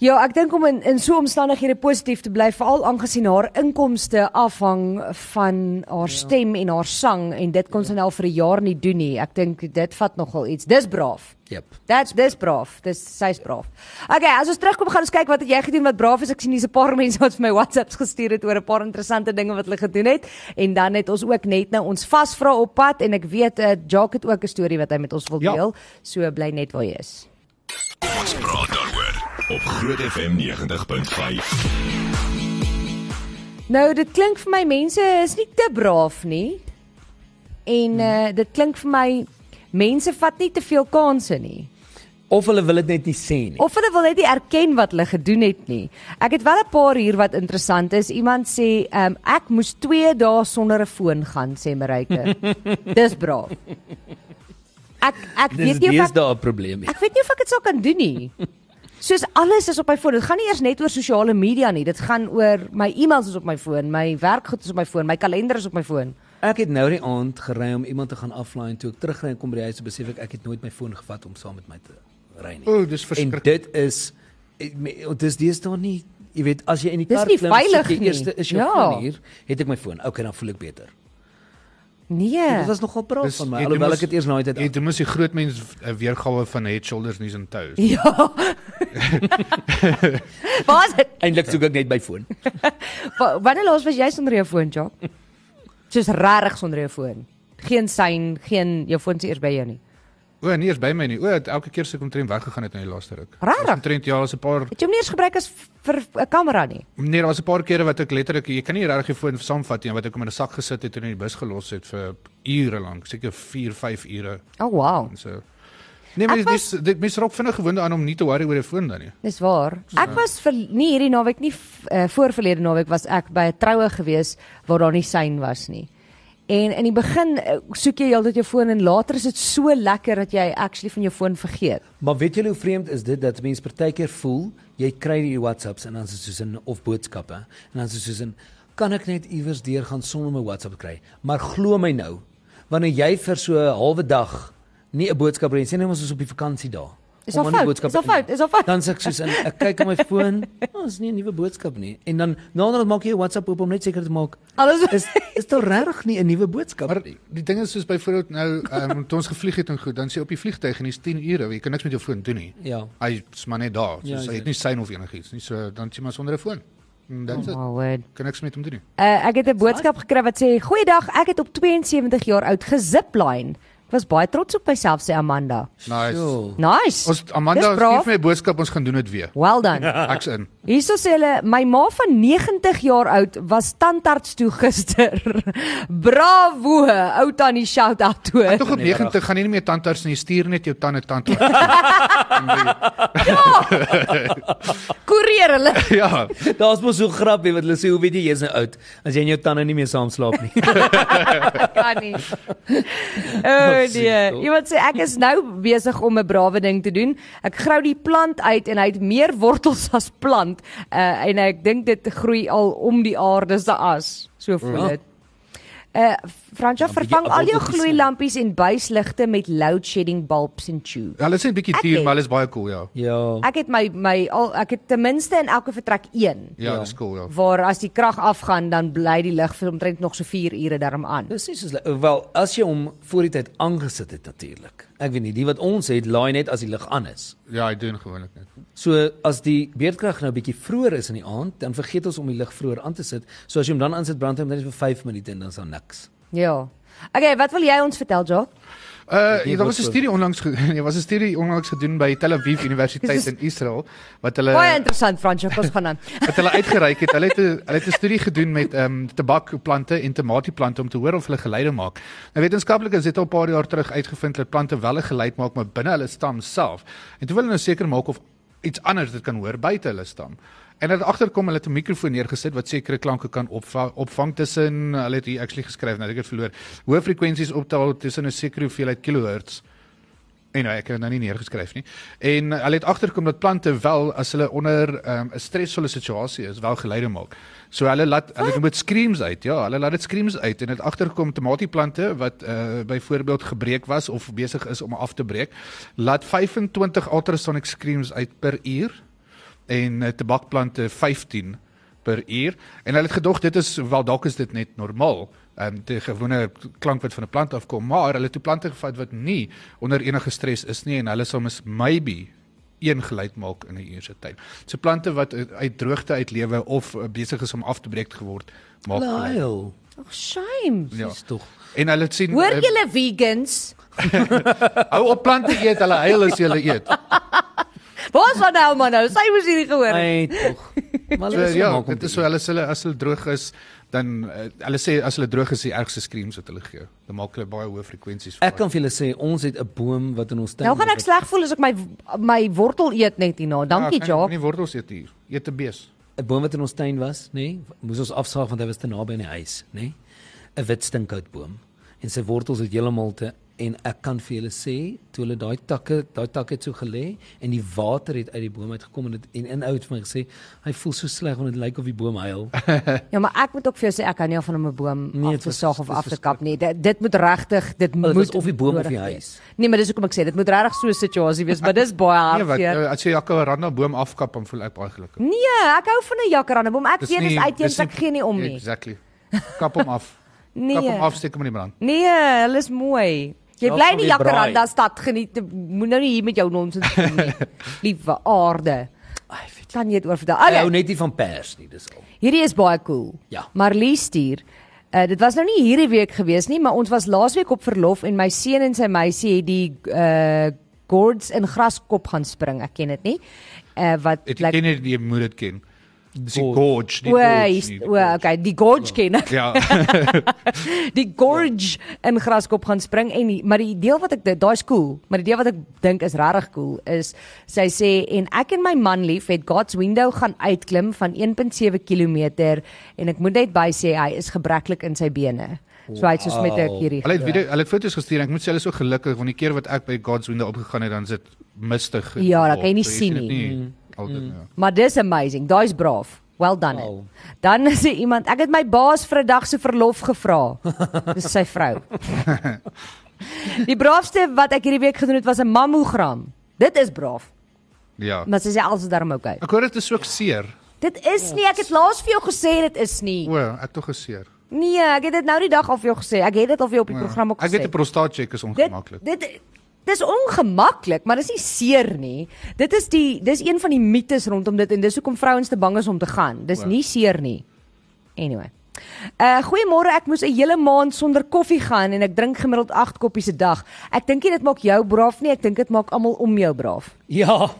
[SPEAKER 2] Ja, ek dink om in in so omstandighede positief te bly, veral aangesien haar inkomste afhang van
[SPEAKER 3] Ja.
[SPEAKER 2] haar stem en haar sang en dit kon sy nou al vir 'n jaar nie doen nie. Ek dink dit vat nogal iets. Dis braaf.
[SPEAKER 3] Yep.
[SPEAKER 2] That's dis braaf. Dis sy's braaf. Okay, as ons terugkom gaan ons kyk wat het jy gedoen wat braaf is. Ek sien hier's 'n paar mense wat vir my WhatsApps gestuur het oor 'n paar interessante dinge wat hulle gedoen het en dan het ons ook net nou ons vasvra op pad en ek weet uh, Jacques het ook 'n storie wat hy met ons wil
[SPEAKER 4] Ja.
[SPEAKER 2] deel. So bly net waar jy is.
[SPEAKER 1] Ons praat daaroor op Groot FM 90.5.
[SPEAKER 2] Nou, dit klink vir my mense is nie te braaf nie. En uh, dit klink vir my mense vat nie te veel kansse nie.
[SPEAKER 3] Of hulle wil dit net nie sê nie.
[SPEAKER 2] Of hulle wil net nie erken wat hulle gedoen het nie. Ek het wel 'n paar hier wat interessant is. Iemand sê, um, "Ek moes 2 dae sonder 'n foon gaan," sê Marike. Dis braaf. Ek ek
[SPEAKER 3] Dis
[SPEAKER 2] weet nie of ek
[SPEAKER 3] deesdae 'n probleem.
[SPEAKER 2] Ek weet nie of ek dit sou kan doen nie. Soos alles is op my foon. Dit gaan nie eers net oor sosiale media nie. Dit gaan oor my e-mails is op my foon, my werkgoed is op my foon, my kalender is op my foon.
[SPEAKER 3] Ek het nou die aand gery om iemand te gaan aflaai en toe ek terugry en kom by die huis besef ek ek het nooit my foon gevat om saam met my te ry nie.
[SPEAKER 4] O, dis
[SPEAKER 3] en
[SPEAKER 4] verskriklik.
[SPEAKER 3] dit is ek me- want dis dis daar nie, jy weet, as jy in die
[SPEAKER 2] Dis
[SPEAKER 3] kar
[SPEAKER 2] nie
[SPEAKER 3] klim, soek
[SPEAKER 2] veilig
[SPEAKER 3] jy
[SPEAKER 2] nie.
[SPEAKER 3] eers is jou
[SPEAKER 2] Ja.
[SPEAKER 3] foon hier, het ek my foon. Okay, dan voel ek beter.
[SPEAKER 2] Nee.
[SPEAKER 3] Dit was nogal braaf
[SPEAKER 4] Dis-
[SPEAKER 3] van my
[SPEAKER 4] jy
[SPEAKER 3] alhoewel
[SPEAKER 4] doen
[SPEAKER 3] ek dit eers na die
[SPEAKER 4] Jy
[SPEAKER 3] tyd.
[SPEAKER 4] doen mos die groot mens eh, weergawe van Head Shoulders Knees and Toes.
[SPEAKER 2] Ja. was dit?
[SPEAKER 3] Eintlik soek ek net my foon.
[SPEAKER 2] Wa- Wanneer laas was jy sonder jou foon, Jock? Soos regtig sonder jou foon. Geen sein, geen jou foon se eers by jou nie.
[SPEAKER 4] O, nee, is by my nie. O, het elke keer se kom trend weggegaan het in die laaste ruk.
[SPEAKER 2] Rarig.
[SPEAKER 4] Dis Omtrent ja, is 'n paar
[SPEAKER 2] Het jy hom nie eers gebruik as f- vir 'n kamera nie?
[SPEAKER 4] nee, daar's 'n paar kere wat ek letterlik jy kan nie regtig jou foon saamvat nie, wat ek hom in 'n sak gesit het en in die bus gelos het vir ure lank, seker 4, 5 ure.
[SPEAKER 2] Oh wow.
[SPEAKER 4] En so. Nee,
[SPEAKER 2] Ek
[SPEAKER 4] mens
[SPEAKER 2] was-
[SPEAKER 4] was... dit mens raak vinnig gewoond aan om nie te worry oor jou foon dan nie.
[SPEAKER 2] Dis waar. Ek was vir nie hierdie naweek nie uh, voorverlede naweek was ek by 'n troue gewees waar daar nie sein was nie. En in die begin eh, soek jy heeltyd jou foon en later is dit so lekker dat jy actually van jou foon vergeet.
[SPEAKER 3] Maar weet julle hoe vreemd is dit dat mense partykeer voel jy kry die WhatsApps en dan is dit soos 'n of boodskappe en dan is dit soos 'n kan ek net iewers deur gaan sonder my WhatsApp te kry. Maar glo my nou, wanneer jy vir so 'n halwe dag nie 'n boodskap kry nie, sê net ons is op die vakansie daar.
[SPEAKER 2] Is
[SPEAKER 3] Kom
[SPEAKER 2] al
[SPEAKER 3] aan die
[SPEAKER 2] fout,
[SPEAKER 3] boodskap
[SPEAKER 2] is al
[SPEAKER 3] in.
[SPEAKER 2] fout, is al fout.
[SPEAKER 3] Dan sê ek soos in ek kyk op my foon, oh, is nie 'n nuwe boodskap nie. En dan naderhand maak jy jou WhatsApp oop om net seker te maak
[SPEAKER 2] Alles
[SPEAKER 3] is is daar regtig nie 'n nuwe boodskap
[SPEAKER 4] Maar die ding is soos byvoorbeeld nou, ehm um, toe ons gevlieg het en goed, dan sê op die vliegtyg en dis 10 ure, jy kan niks met jou foon doen nie.
[SPEAKER 3] Ja.
[SPEAKER 4] Hy is maar net daar. So
[SPEAKER 3] Ja,
[SPEAKER 4] ja,
[SPEAKER 3] hy
[SPEAKER 4] hy
[SPEAKER 3] is
[SPEAKER 4] het nie sein of enigiets nie. So dan sien maar sonder 'n foon. En dit is
[SPEAKER 2] Oh, word.
[SPEAKER 4] kan niks met hom doen nie.
[SPEAKER 2] Eh, Uh, ek het 'n boodskap gekry wat sê: "Goeiedag, ek het op 72 jaar oud gesipline." Ek was baie trots op myself sê Amanda.
[SPEAKER 4] Nice.
[SPEAKER 3] Jo.
[SPEAKER 2] Nice.
[SPEAKER 4] Ons Ja. Amanda
[SPEAKER 2] Dis braaf.
[SPEAKER 4] skryf my boodskap ons gaan doen dit weer.
[SPEAKER 2] Well done.
[SPEAKER 4] Ek's in.
[SPEAKER 2] Hierso sê hulle my ma van 90 jaar oud was tandarts toe gister. Bravo, ou tannie shout out toe.
[SPEAKER 4] Tog op 90 gaan jy nie meer tandarts nie, jy stuur net jou tande tandarts.
[SPEAKER 2] Ja. Koereer Ja! hulle.
[SPEAKER 4] ja.
[SPEAKER 3] Daar's mos so grappie wat hulle sê, hoe weet jy jy's nou oud as jy in jou tande nie meer saam slaap nie.
[SPEAKER 2] kan nie. Ja, nee. Oh nee,
[SPEAKER 3] siek, toch?
[SPEAKER 2] iemand sê ek is nou besig om 'n brawe ding te doen. Ek grou die plant uit en hy het meer wortels as plant uh, en ek dink dit groei al om die aarde se as. So voel
[SPEAKER 3] Ja.
[SPEAKER 2] dit. Uh Fransja
[SPEAKER 3] Ja,
[SPEAKER 2] vervang
[SPEAKER 3] bietjie
[SPEAKER 2] al jou
[SPEAKER 3] appeltjies, ja. hè?
[SPEAKER 2] gloeilampies en buisligte met load shedding bulbs en tubes.
[SPEAKER 4] Hulle is net 'n bietjie
[SPEAKER 2] Ek
[SPEAKER 4] duur,
[SPEAKER 2] het-
[SPEAKER 4] maar hulle is baie cool, ja.
[SPEAKER 3] ja.
[SPEAKER 2] Ek het my my al ek het ten minste in elke vertrek een
[SPEAKER 4] Ja,
[SPEAKER 3] Ja.
[SPEAKER 4] dis cool, ja.
[SPEAKER 2] waar as die krag afgaan dan bly die lig vir omtrent nog so 4 ure daarom aan.
[SPEAKER 3] Dis nie soos wel as jy hom voor die tyd aangesit het natuurlik. Ek weet nie, die wat ons het laai net as die lig aan is.
[SPEAKER 4] Ja, hy doen gewoonlik net.
[SPEAKER 3] So as die beerdkrag nou bietjie vroeër is in die aand, dan vergeet ons om die lig vroeër aan te sit. So as jy hom dan aansit brand hy hom net vir 5 minute en dan is daar niks.
[SPEAKER 2] Ja. Okay, wat wil jy ons vertel, Jock?
[SPEAKER 4] Uh,
[SPEAKER 3] Die
[SPEAKER 4] ja, daar was 'n
[SPEAKER 3] woordvoer.
[SPEAKER 4] studie onlangs ge- ja, was 'n studie onlangs gedoen by Tel Aviv Universiteit
[SPEAKER 2] Dis-
[SPEAKER 4] in Israel wat
[SPEAKER 2] Baie
[SPEAKER 4] hulle
[SPEAKER 2] interessant, Fransjo, kom ons gaan aan.
[SPEAKER 4] wat hulle uitgereik het. Hulle het 'n hulle het 'n studie gedoen met ehm um, tabakplante en tomatieplante om te hoor of hulle geluide maak. Nou wetenskaplikes het al 'n paar jaar terug uitgevind dat plante wel 'n geluid maak, maar binne hulle stam self. En toe wil hulle nou seker maak of iets anders dit kan hoor buite hulle stam. En hulle het agterkom hulle het 'n mikrofoon neergesit wat sekere klanke kan opvang, opvang tussen hulle het hier actually geskryf, nou het ek dit verloor. Hoë frekwensies optel tussen 'n sekere hoeveelheid kilohertz En nou, ek het dit nou nie neergeskryf nie. En uh, hulle het agterkom dat plante wel as hulle onder um, 'n stresvolle situasie is, wel geluide maak. So hulle laat hulle noem dit screams uit. Ja, hulle laat dit screams uit en het agterkom tomatieplante wat uh, byvoorbeeld gebreek was of besig is om af te breek, laat 25 ultrasonic screams uit per uur en uh, tabakplante 15 per uur en hulle het gedog dit is wel dalk is dit net normaal ehm um, die gewone klank wat van 'n plant afkom maar hulle het toe plante gevat wat nie onder enige stres is nie en hulle sal mis maybe een geluid maak in 'n uur se tyd. So plante wat uit- uit droogte uitlewe of uh, besig is om af te breek te geword maak. geluid.
[SPEAKER 3] Lyle,
[SPEAKER 2] Ag, shame.
[SPEAKER 4] Ja.
[SPEAKER 3] dis tog.
[SPEAKER 4] En hulle het sien
[SPEAKER 2] Hoor
[SPEAKER 4] eh,
[SPEAKER 2] julle vegans?
[SPEAKER 4] hou op plante eet, hulle huil as jy hulle eet.
[SPEAKER 2] Waar is nou man nou? Sy moes hierdie gehoor. het.
[SPEAKER 3] Ai tog. Maar
[SPEAKER 4] So,
[SPEAKER 3] hulle
[SPEAKER 4] ja,
[SPEAKER 3] maak hom
[SPEAKER 4] dit is
[SPEAKER 3] te
[SPEAKER 4] so hulle as hulle as hulle droog is, dan uh, hulle sê as hulle droog is die ergste screams wat hulle gee. Dan maak hulle baie hoë frekwensies
[SPEAKER 3] eet. Ek kan vir julle sê ons het 'n boom wat in ons tuin
[SPEAKER 2] Nou gaan ek
[SPEAKER 3] is.
[SPEAKER 2] sleg voel as ek my my wortel eet net hierna.
[SPEAKER 4] Ja,
[SPEAKER 2] Dankie, Jock.
[SPEAKER 4] Nie wortels eet hier. Eet 'n bees.
[SPEAKER 3] 'n boom wat in ons tuin was, nê, nee, moes ons afsaag want hy was te naby aan die huis, nê. Nee, 'n wit stinkhoutboom en sy wortels het heeltemal te en ek kan vir julle sê, toe hulle daai takke, daai takke het so gelê en die water het uit die boom uitgekom en dit en inhoud vir my gesê, hy voel so sleg want dit lyk of die boom huil.
[SPEAKER 2] Ja, maar ek moet ook vir jou sê ek hou nie van om 'n boom
[SPEAKER 3] Nee,
[SPEAKER 2] af
[SPEAKER 3] dit
[SPEAKER 2] te
[SPEAKER 3] was-
[SPEAKER 2] saag of
[SPEAKER 3] dit
[SPEAKER 2] af
[SPEAKER 3] was
[SPEAKER 2] te kap nie. Dit, dit moet regtig dit
[SPEAKER 3] dit was
[SPEAKER 2] moet
[SPEAKER 3] of die boom of die
[SPEAKER 2] nodig
[SPEAKER 3] huis.
[SPEAKER 2] wees. Nee, maar dis hoekom ek sê dit moet regtig so 'n situasie wees, maar dis baie
[SPEAKER 4] Nee, wat
[SPEAKER 2] hartseer.
[SPEAKER 4] uh, as jy jacaranda boom afkap, dan voel ek baie gelukkig.
[SPEAKER 2] Nee, ek hou van 'n jacaranda boom. Ek weet dis uitheems,
[SPEAKER 4] nie-
[SPEAKER 2] ek gee nie om nie.
[SPEAKER 4] Exactly. Kap hom af.
[SPEAKER 2] Nee.
[SPEAKER 4] Kap hom af, steek hom in die brand.
[SPEAKER 2] Nee, hulle is mooi. Jy
[SPEAKER 3] Ja,
[SPEAKER 2] bly
[SPEAKER 3] van
[SPEAKER 2] in die
[SPEAKER 3] die braai.
[SPEAKER 2] Jacaranda stad geniet. Moet nou nie hier met jou nonsens kom nie. Liewe aarde.
[SPEAKER 3] Ai, weet
[SPEAKER 2] Kan jy dit oor
[SPEAKER 3] jy. Hy
[SPEAKER 2] vertel?
[SPEAKER 3] hou
[SPEAKER 2] Okay,
[SPEAKER 3] net nie van pers nie, dis al.
[SPEAKER 2] hierdie is baie cool.
[SPEAKER 3] Ja.
[SPEAKER 2] Marlie stuur. Uh, dit was nou nie hierdie week gewees nie, maar ons was laasweek op verlof en my seun en sy meisie het die uh gourds in graskop gaan spring. Ek ken dit nie. Uh wat
[SPEAKER 4] Het jy ken dit jy moet dit ken. Dis die
[SPEAKER 3] Gorge.
[SPEAKER 4] gorge, die
[SPEAKER 2] O,
[SPEAKER 4] gorge.
[SPEAKER 2] hier's-
[SPEAKER 4] nie die
[SPEAKER 2] o,
[SPEAKER 4] gorge.
[SPEAKER 2] okay, die gorge ken ek.
[SPEAKER 4] Ja,
[SPEAKER 3] Ja.
[SPEAKER 2] die gorge in Graskop gaan spring en die- maar die deel wat ek dit daai's cool, maar die deel wat ek dink is regtig cool is sy sê en ek en my man lief het God's Window gaan uitklim van 1.7 km en ek moet net by sê hy is gebreklik in sy bene. So hy het soos met 'n
[SPEAKER 3] Wow.
[SPEAKER 2] hierdie
[SPEAKER 4] hulle het video, hulle het foto's gestuur en ek moet sê hulle is so gelukkig want die keer wat ek by God's Window opgegaan het, dan is dit mistig. in die
[SPEAKER 2] Ja, dat kan jy nie
[SPEAKER 4] gorge. So
[SPEAKER 2] sien
[SPEAKER 4] dit
[SPEAKER 2] nie. Mm.
[SPEAKER 4] Altyd ja.
[SPEAKER 2] Maar dis amazing. Daai's braaf. Well done. Wow.
[SPEAKER 3] Wow.
[SPEAKER 2] Dan sê iemand, ek het my baas vir 'n dag se verlof gevra. Dis sy vrou. die braafste wat ek hierdie week gedoen het was 'n mammogram. Dit is braaf.
[SPEAKER 4] Ja.
[SPEAKER 2] Maar sy sê alles is daarom okay.
[SPEAKER 4] Ek hoor dit is ook seer.
[SPEAKER 2] Dit is nie, ek het laas vir jou gesê dit is nie.
[SPEAKER 4] O, ek tog geseer. Ja.
[SPEAKER 2] Nee, ek het dit nou die dag al vir jou gesê. Ek het dit al vir jou op die program ook
[SPEAKER 4] Ek
[SPEAKER 2] gesê.
[SPEAKER 4] weet 'n prostaatcheck is ongemaklik.
[SPEAKER 2] Dit dit dis ongemaklik, maar dis nie seer nie. Dit is die dis een van die
[SPEAKER 4] Ja.
[SPEAKER 2] mites rondom dit en dis hoekom vrouens te bang is om te gaan. Dis nie seer nie. Anyway. Uh goeiemôre, ek moes 'n hele maand sonder koffie gaan en ek drink gemiddeld 8 koppies 'n dag. Ek dink nie dit maak jou braaf nie, ek dink dit maak almal om jou braaf.
[SPEAKER 3] Ja.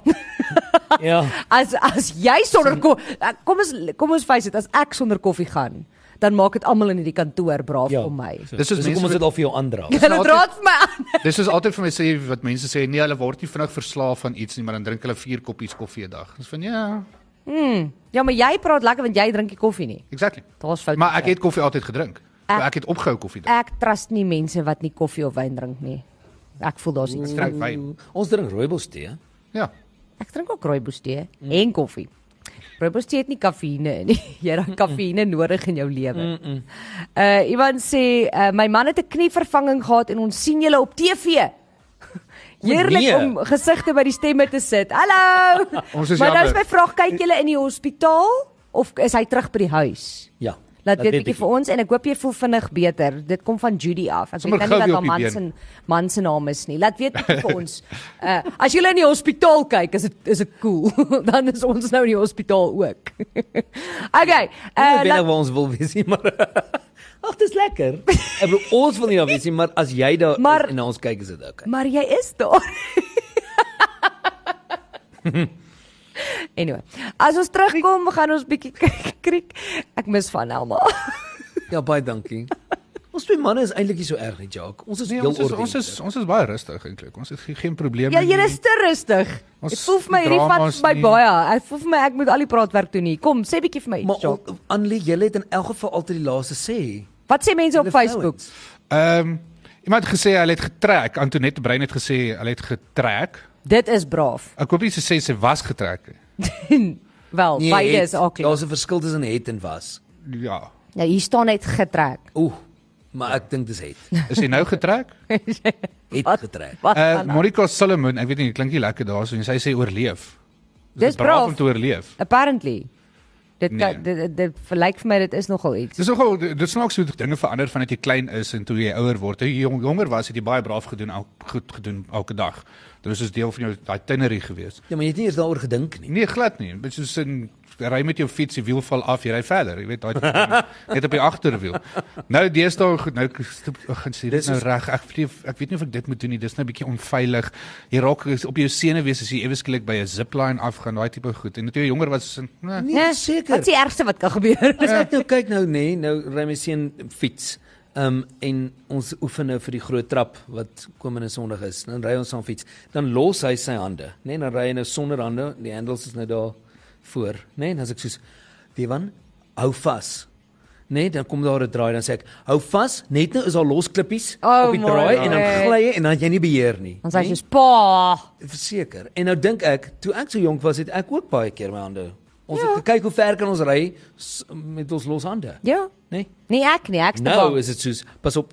[SPEAKER 3] ja.
[SPEAKER 2] As as jy sonder ko eh, kom ons kom ons face dit, as ek sonder koffie gaan, dan maak dit almal in hierdie kantoor braaf
[SPEAKER 3] Ja.
[SPEAKER 2] om my.
[SPEAKER 3] So,
[SPEAKER 4] Dis
[SPEAKER 3] dis
[SPEAKER 4] is mense
[SPEAKER 3] hoekom
[SPEAKER 4] met-
[SPEAKER 3] ons dit al vir jou aandra.
[SPEAKER 2] Hulle dra dit vir my aan.
[SPEAKER 4] Dis is altyd vir my sê wat mense sê, nee, hulle word nie vinnig verslaaf van iets nie, maar dan drink hulle 4 koppies koffie 'n dag. Dis van ja,
[SPEAKER 2] Ja, maar jy praat lekker want jy drink nie koffie nie.
[SPEAKER 4] exactly.
[SPEAKER 2] Daar's ja. fout.
[SPEAKER 4] Maar ek het koffie altyd gedrink. So
[SPEAKER 2] Ek-
[SPEAKER 4] ek het opgehou koffie drink.
[SPEAKER 2] ek trust nie mense wat nie koffie of wyn drink nie. Ek voel daar's iets.
[SPEAKER 4] Ek drink wyn.
[SPEAKER 3] Ons drink rooibos tee.
[SPEAKER 4] Ja.
[SPEAKER 2] Ek drink ook rooibos tee mm. en koffie. Rooibos tee het nie kafeïne in nie. Jy het daai kafeïne nodig in jou lewe. Mm -mm. Uh iemand sê uh, my man het 'n knievervanging gehad en ons sien julle op TV. Heerlik
[SPEAKER 3] nee.
[SPEAKER 2] om gesigte by die stemme te sit. Hallo.
[SPEAKER 4] Ons is
[SPEAKER 2] maar nou
[SPEAKER 4] jammer.
[SPEAKER 2] is my vraag, kyk julle in die hospitaal of is hy terug by die huis?
[SPEAKER 3] Ja.
[SPEAKER 2] Laat weet bietjie
[SPEAKER 3] ek.
[SPEAKER 2] vir ons en ek hoop jy voel vinnig beter. Dit kom van Judy af. Ek
[SPEAKER 4] Sommer
[SPEAKER 2] weet nou nie wat
[SPEAKER 4] gou
[SPEAKER 2] haar
[SPEAKER 4] weer op
[SPEAKER 2] man
[SPEAKER 4] die
[SPEAKER 2] se man se naam is nie. Laat weet bietjie vir ons. Uh, as julle in die hospitaal kyk, is dit is dit cool. Dan is ons nou in die hospitaal ook. okay. Uh,
[SPEAKER 3] Ek weet nou
[SPEAKER 2] laat,
[SPEAKER 3] waar ons wil wees, nie, maar Ag, dis lekker. Ek bedoel ons wil nie daar wees nie, maar as jy daar
[SPEAKER 2] Maar-
[SPEAKER 3] maar, en na ons kyk is dit okay.
[SPEAKER 2] maar jy is daar. anyway, as ons terugkom, gaan ons bietjie kyk kriek. Ek mis van Elma.
[SPEAKER 3] Ja, baie dankie. Ons twee manne is eintlik nie so erg nie, Jacques. Ons is
[SPEAKER 4] Nee,
[SPEAKER 3] heel
[SPEAKER 4] ons is, ons
[SPEAKER 3] ordentlik.
[SPEAKER 4] is ons is baie rustig eintlik. Ons het ge- geen probleme
[SPEAKER 2] Ja, jy
[SPEAKER 4] nie.
[SPEAKER 2] is te rustig.
[SPEAKER 4] Ons
[SPEAKER 2] Ek voel vir my hierdie vat
[SPEAKER 4] drama's
[SPEAKER 2] vir my
[SPEAKER 4] nie.
[SPEAKER 2] baie. Ek voel vir my ek moet al die praatwerk doen hier. Kom, sê bietjie vir my iets,
[SPEAKER 3] Maar
[SPEAKER 2] Jacques.
[SPEAKER 3] al- Annelie, jy het in elk geval altyd die laaste sê.
[SPEAKER 2] Wat sê mense op
[SPEAKER 3] Julle
[SPEAKER 2] Facebook?
[SPEAKER 3] vrouens.
[SPEAKER 4] Ehm um, iemand het gesê hulle het getrek. Antoinette Brein het gesê hulle het getrek.
[SPEAKER 2] Dit is braaf.
[SPEAKER 4] Ek hoop nie sy sê sy was getrek nie.
[SPEAKER 2] Wel, nee, beide
[SPEAKER 3] het. Ja.
[SPEAKER 2] is aklig.
[SPEAKER 3] Daar's 'n verskil tussen het en was.
[SPEAKER 4] Ja.
[SPEAKER 2] Nou hier staan net getrek.
[SPEAKER 3] Oeh, maar ek dink dis het.
[SPEAKER 4] Is sy nou getrek?
[SPEAKER 3] Het
[SPEAKER 2] Wat?
[SPEAKER 3] getrek.
[SPEAKER 2] Wat
[SPEAKER 4] Eh
[SPEAKER 2] gaan aan?
[SPEAKER 4] Monica Solomon, ek weet nie, dit klink nie lekker daarso nie. Sy sê oorleef.
[SPEAKER 2] Dis
[SPEAKER 4] braaf
[SPEAKER 2] braaf.
[SPEAKER 4] om te oorleef.
[SPEAKER 2] Apparently. Dit
[SPEAKER 4] Nee.
[SPEAKER 2] kan- dit dit- dit verlyk vir my dit is nogal iets.
[SPEAKER 4] Dis nogal dit snaaks hoe dinge verander vandat jy klein is en toe jy ouer word. Toe jy jong, jonger was, het jy baie braaf gedoen, al, goed gedoen elke dag. Dit was 'n deel van jou daai tienerie gewees.
[SPEAKER 3] Ja, maar jy het nie eens daaroor gedink nie.
[SPEAKER 4] Nee, glad nie. Dit is soos in ry met jou fiets, die wiel val af, jy ry verder. Jy weet daai tipe ding. net op die agterwiel. Nou deesdae goed, nou gaan sien dit
[SPEAKER 3] Dis
[SPEAKER 4] nou
[SPEAKER 3] is-
[SPEAKER 4] reg. Ek weet- ek weet nie of ek dit moet doen nie. Dis nou 'n bietjie onveilig. Jy raak op jou senuwees as jy ewe skielik by 'n zipline afgaan, daai tipe goed. En toe jy jonger was, is in, nee,
[SPEAKER 3] Nee, seker.
[SPEAKER 2] Wat is die ergste wat kan gebeur?
[SPEAKER 3] As ek nou kyk nou nê, nee, nou ry my seun fiets. Ehm um, en ons oefen nou vir die groot trap wat komende Sondag is. Dan ry ons saam fiets. Dan los hy sy hande, nê, nee, dan ry hy nou sonder hande. Die handles is nou daar voor, nê, nee, en as ek soos Devan, hou vas. Nee, dan kom daar 'n draai dan sê ek, hou vas, net nou is daar los klippies
[SPEAKER 2] Oh
[SPEAKER 3] op die
[SPEAKER 2] my
[SPEAKER 3] draai en dan
[SPEAKER 2] word.
[SPEAKER 3] gly jy en dan het jy nie beheer nie.
[SPEAKER 2] Ons sê
[SPEAKER 3] nê?
[SPEAKER 2] jy's pa.
[SPEAKER 3] Verseker. En nou dink ek, toe ek so jonk was, het ek ook baie keer my hande. Ons ja. het gekyk hoe ver kan ons ry s- met ons los hande.
[SPEAKER 2] Ja.
[SPEAKER 3] Nee.
[SPEAKER 2] Nee, ek nie, ek staan
[SPEAKER 3] Nou is dit soos pas op.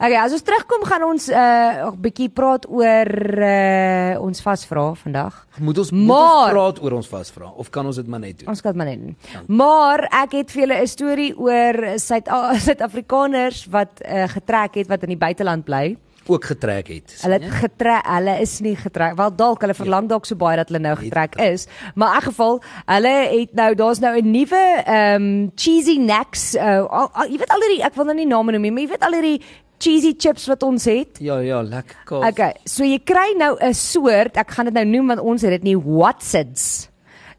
[SPEAKER 2] Okay, as ons terugkom gaan ons 'n uh, bietjie praat oor uh, ons vasvra vandag.
[SPEAKER 3] Moet ons moet
[SPEAKER 2] Maar-
[SPEAKER 3] ons praat oor ons vasvra of kan ons dit maar net doen?
[SPEAKER 2] Ons kan dit maar net doen. Maar ek het vir julle 'n storie oor Suid Suid-Afrikaners wat uh, getrek het wat in die buiteland bly.
[SPEAKER 3] Ook getrek het.
[SPEAKER 2] Hulle het getrek, hulle is nie getrek. Wel dalk hulle verlang dalk so baie dat hulle nou getrek is, maar in elk geval, hulle het nou daar's nou 'n nuwe ehm cheesy snacks. Uh, al, al, jy weet al hierdie ek wil nou nie name noem nie, maar jy weet al hierdie cheesy chips wat ons het.
[SPEAKER 3] Ja ja, lekker kaas.
[SPEAKER 2] Okay, so jy kry nou 'n soort, ek gaan dit nou noem want ons het dit nie Watsits.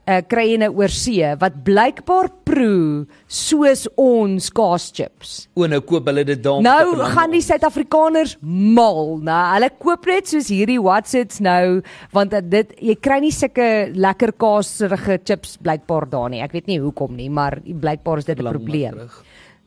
[SPEAKER 2] Uh kry jy nou oor see wat blykbaar proe soos ons kaaschips.
[SPEAKER 3] O, nou koop hulle dit daar. om te
[SPEAKER 2] Nou
[SPEAKER 3] verlang
[SPEAKER 2] gaan die
[SPEAKER 3] om-
[SPEAKER 2] Suid-Afrikaners mal, nou hulle koop net soos hierdie Watsits nou want dat dit jy kry nie sulke lekker kaaserige chips blykbaar daar nie. Ek weet nie hoekom nie, maar blykbaar is dit 'n
[SPEAKER 3] verlang maar
[SPEAKER 2] probleem.
[SPEAKER 3] terug.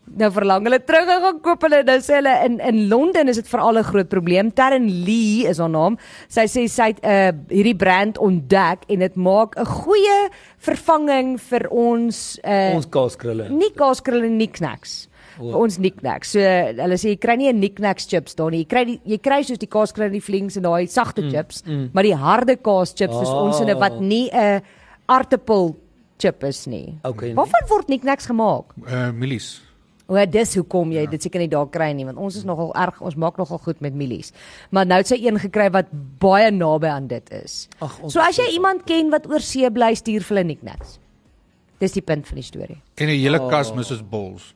[SPEAKER 2] Nou verlang hulle terug en gaan koop hulle nou sê hulle in in Londen is dit veral 'n groot probleem. Taryn Lee is haar naam. Sy sê sy het uh, hierdie brand ontdek en dit maak 'n goeie vervanging vir ons uh,
[SPEAKER 3] Ons kaaskrulle.
[SPEAKER 2] nie kaaskrulle nie knacks. Vir ons knickknacks. So hulle sê jy kry nie 'n knickknacks chips daar nie. Jy kry die, jy kry soos die kaaskrulle en die flings en daai sagte
[SPEAKER 3] Mm,
[SPEAKER 2] chips, maar die harde kaaschips soos ons
[SPEAKER 3] Ah.
[SPEAKER 2] in 'n wat nie 'n aartappel chip is nie.
[SPEAKER 3] Okay, nee.
[SPEAKER 2] Waarvan word knickknacks gemaak?
[SPEAKER 4] uh milies.
[SPEAKER 2] O, dis hoekom
[SPEAKER 3] Ja.
[SPEAKER 2] jy dit seker nie daar kry nie, want ons is nogal erg, ons maak nogal goed met mielies. Maar nou het sy een gekry wat baie naby aan dit is.
[SPEAKER 3] Ag, ons-
[SPEAKER 2] so as jy iemand ken wat oor see bly, stuur vir hulle niknats. Dis die punt van die storie.
[SPEAKER 4] En 'n
[SPEAKER 2] Oh.
[SPEAKER 4] hele kas mis soos bols.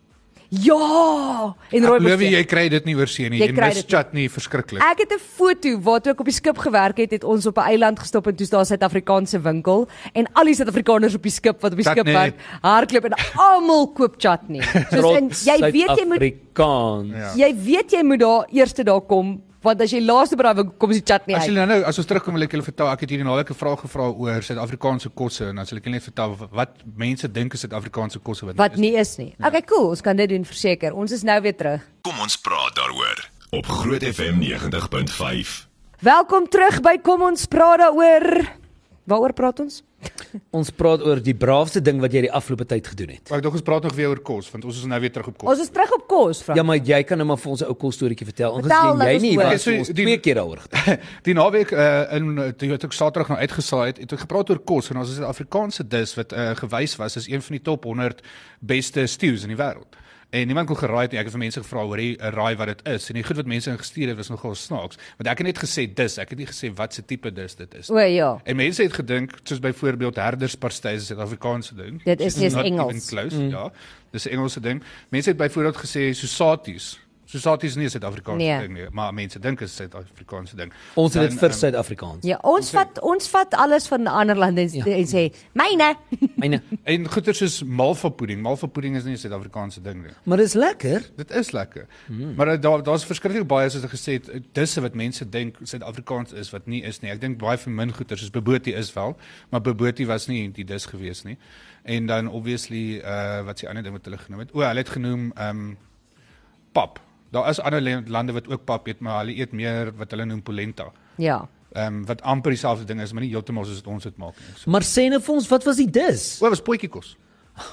[SPEAKER 2] Ja, en rooi
[SPEAKER 4] Glo
[SPEAKER 2] bestek.
[SPEAKER 4] jy kry dit nie oor see nie.
[SPEAKER 2] Jy
[SPEAKER 4] En
[SPEAKER 2] kry
[SPEAKER 4] mis
[SPEAKER 2] dit nie. Ah.
[SPEAKER 4] chutney verskriklik.
[SPEAKER 2] Ek het 'n foto waartoe ek op die skip gewerk het, het ons op 'n eiland gestop en toe's daar 'n Suid-Afrikaanse winkel en al die Suid-Afrikaners op die skip wat op die skip
[SPEAKER 4] Chutney.
[SPEAKER 2] werk, hardloop en almal koop chutney. Soos en jy weet jy moet
[SPEAKER 3] Afrikaans.
[SPEAKER 4] Ja.
[SPEAKER 2] jy weet jy moet daar eers daar kom want as jy laaste by daai winkel kom is die chutney
[SPEAKER 4] As
[SPEAKER 2] uit.
[SPEAKER 4] jy nou nou as ons terugkom wil ek julle vertel ek het hierdie naweek 'n vraag gevra oor Suid-Afrikaanse kosse en dan sal ek julle net vertel wat- wat mense dink is Suid-Afrikaanse kosse wat,
[SPEAKER 2] Wat
[SPEAKER 4] nie
[SPEAKER 2] nie is
[SPEAKER 4] Ja.
[SPEAKER 2] nie. Okay, cool, ons kan dit doen verseker. Ons is nou weer terug.
[SPEAKER 1] Kom ons praat daaroor op Groot FM 90.5.
[SPEAKER 2] Welkom terug by Kom ons praat daaroor. Waaroor praat ons?
[SPEAKER 3] Ons praat oor die braafste ding wat jy die afgelope tyd gedoen het.
[SPEAKER 4] is. Ek dink ons praat nog weer oor kos want ons is nou weer terug op kos.
[SPEAKER 2] Ons is terug op kos, Frank.
[SPEAKER 3] Ja, maar jy kan nou maar vir ons 'n ou kos storieetjie vertel.
[SPEAKER 2] Vertel,
[SPEAKER 3] Aangesien
[SPEAKER 2] laat
[SPEAKER 3] jy
[SPEAKER 2] ons
[SPEAKER 3] nie
[SPEAKER 2] hoor.
[SPEAKER 3] was
[SPEAKER 4] Okay, so
[SPEAKER 3] ons
[SPEAKER 4] die-
[SPEAKER 3] twee keer daaroor. gepraat.
[SPEAKER 4] die naweek uh, in eh, toe het ek Saterdag nou uitgesaai het, het ek gepraat oor kos en ons het 'n Afrikaanse dis wat uh, gewys was as een van die top 100 beste stews in die wêreld. En niemand kon geraai het nie. Ek het vir mense gevra hoor jy raai wat dit is en die goed wat mense ingestuur het was nogal snaaks. Want ek het net gesê dis, ek het nie gesê wat se tipe dis dit is.
[SPEAKER 2] O ja.
[SPEAKER 4] En mense het gedink soos byvoorbeeld herdersparstytjies is 'n Suid-Afrikaanse ding.
[SPEAKER 2] Dit is
[SPEAKER 4] It's
[SPEAKER 2] dis
[SPEAKER 4] not even
[SPEAKER 2] Engels.
[SPEAKER 4] Close, mm. ja. Dis 'n Engelse ding. Mense het byvoorbeeld gesê sosaties. Sosaties is nie 'n Suid-Afrikaanse
[SPEAKER 2] Nee.
[SPEAKER 4] nee. ding nie, maar mense dink dit is 'n Suid-Afrikaanse ding.
[SPEAKER 3] Ons het
[SPEAKER 4] Dan,
[SPEAKER 3] dit vir
[SPEAKER 4] ehm,
[SPEAKER 3] Suid-Afrikaans.
[SPEAKER 2] Ja, ons vat ons vat alles van ander lande
[SPEAKER 4] Ja.
[SPEAKER 2] en, en sê myne.
[SPEAKER 3] Myne,
[SPEAKER 4] ehm, En goeie soos malva pudding. Malva pudding is nie 'n Suid-Afrikaanse ding nie.
[SPEAKER 3] maar dis lekker.
[SPEAKER 4] Dit is lekker. Mm. Maar eh, daar daar's verskriklik baie soos ek gesê het, disse wat mense dink Suid-Afrikaans is wat nie is nie. Ek dink baie van min goeters soos Boboti is wel, maar Boboti was nie die dis gewees nie. En dan obviously uh wat se ander ding wat hulle genoem het. O, hulle het genoem um pap. Daar is ander le- lande wat ook pap eet, maar hulle eet meer wat hulle noem polenta.
[SPEAKER 2] Ja.
[SPEAKER 4] Ehm um, wat amper dieselfde ding is, maar nie heeltemal soos wat ons dit maak nie. So,
[SPEAKER 3] Maar sê nou vir ons, wat was die dis?
[SPEAKER 4] o, was potjie kos.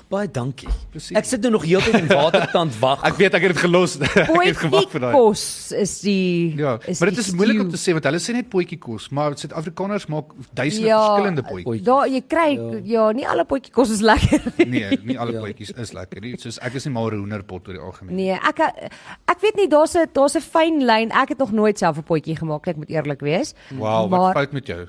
[SPEAKER 3] Baie dankie.
[SPEAKER 4] Presies.
[SPEAKER 3] Ek sit nou nog heeltyd in watertand wag.
[SPEAKER 4] Ek weet ek het dit gelos. ek het gewag vir daai.
[SPEAKER 2] Kos is die
[SPEAKER 4] Ja, maar dit
[SPEAKER 2] die
[SPEAKER 4] is moeilik om
[SPEAKER 2] stew.
[SPEAKER 4] te sê want hulle sê net potjie kos, maar Suid-Afrikaners maak duisende
[SPEAKER 2] Ja,
[SPEAKER 4] verskillende potjies.
[SPEAKER 2] Daar jy kry ja, ja nie alle potjie kos is lekker.
[SPEAKER 4] Nee, nie
[SPEAKER 2] Ja.
[SPEAKER 4] alle potjies is lekker nie. Soos ek is nie mal oor 'n hoenderpot oor die algemeen.
[SPEAKER 2] Nee, ek ek weet nie daar's 'n daar's 'n fyn lyn. Ek het nog nooit self 'n potjie gemaak, ek moet eerlik wees. Nee,
[SPEAKER 4] Wow, wat
[SPEAKER 2] maar
[SPEAKER 4] fout met jou?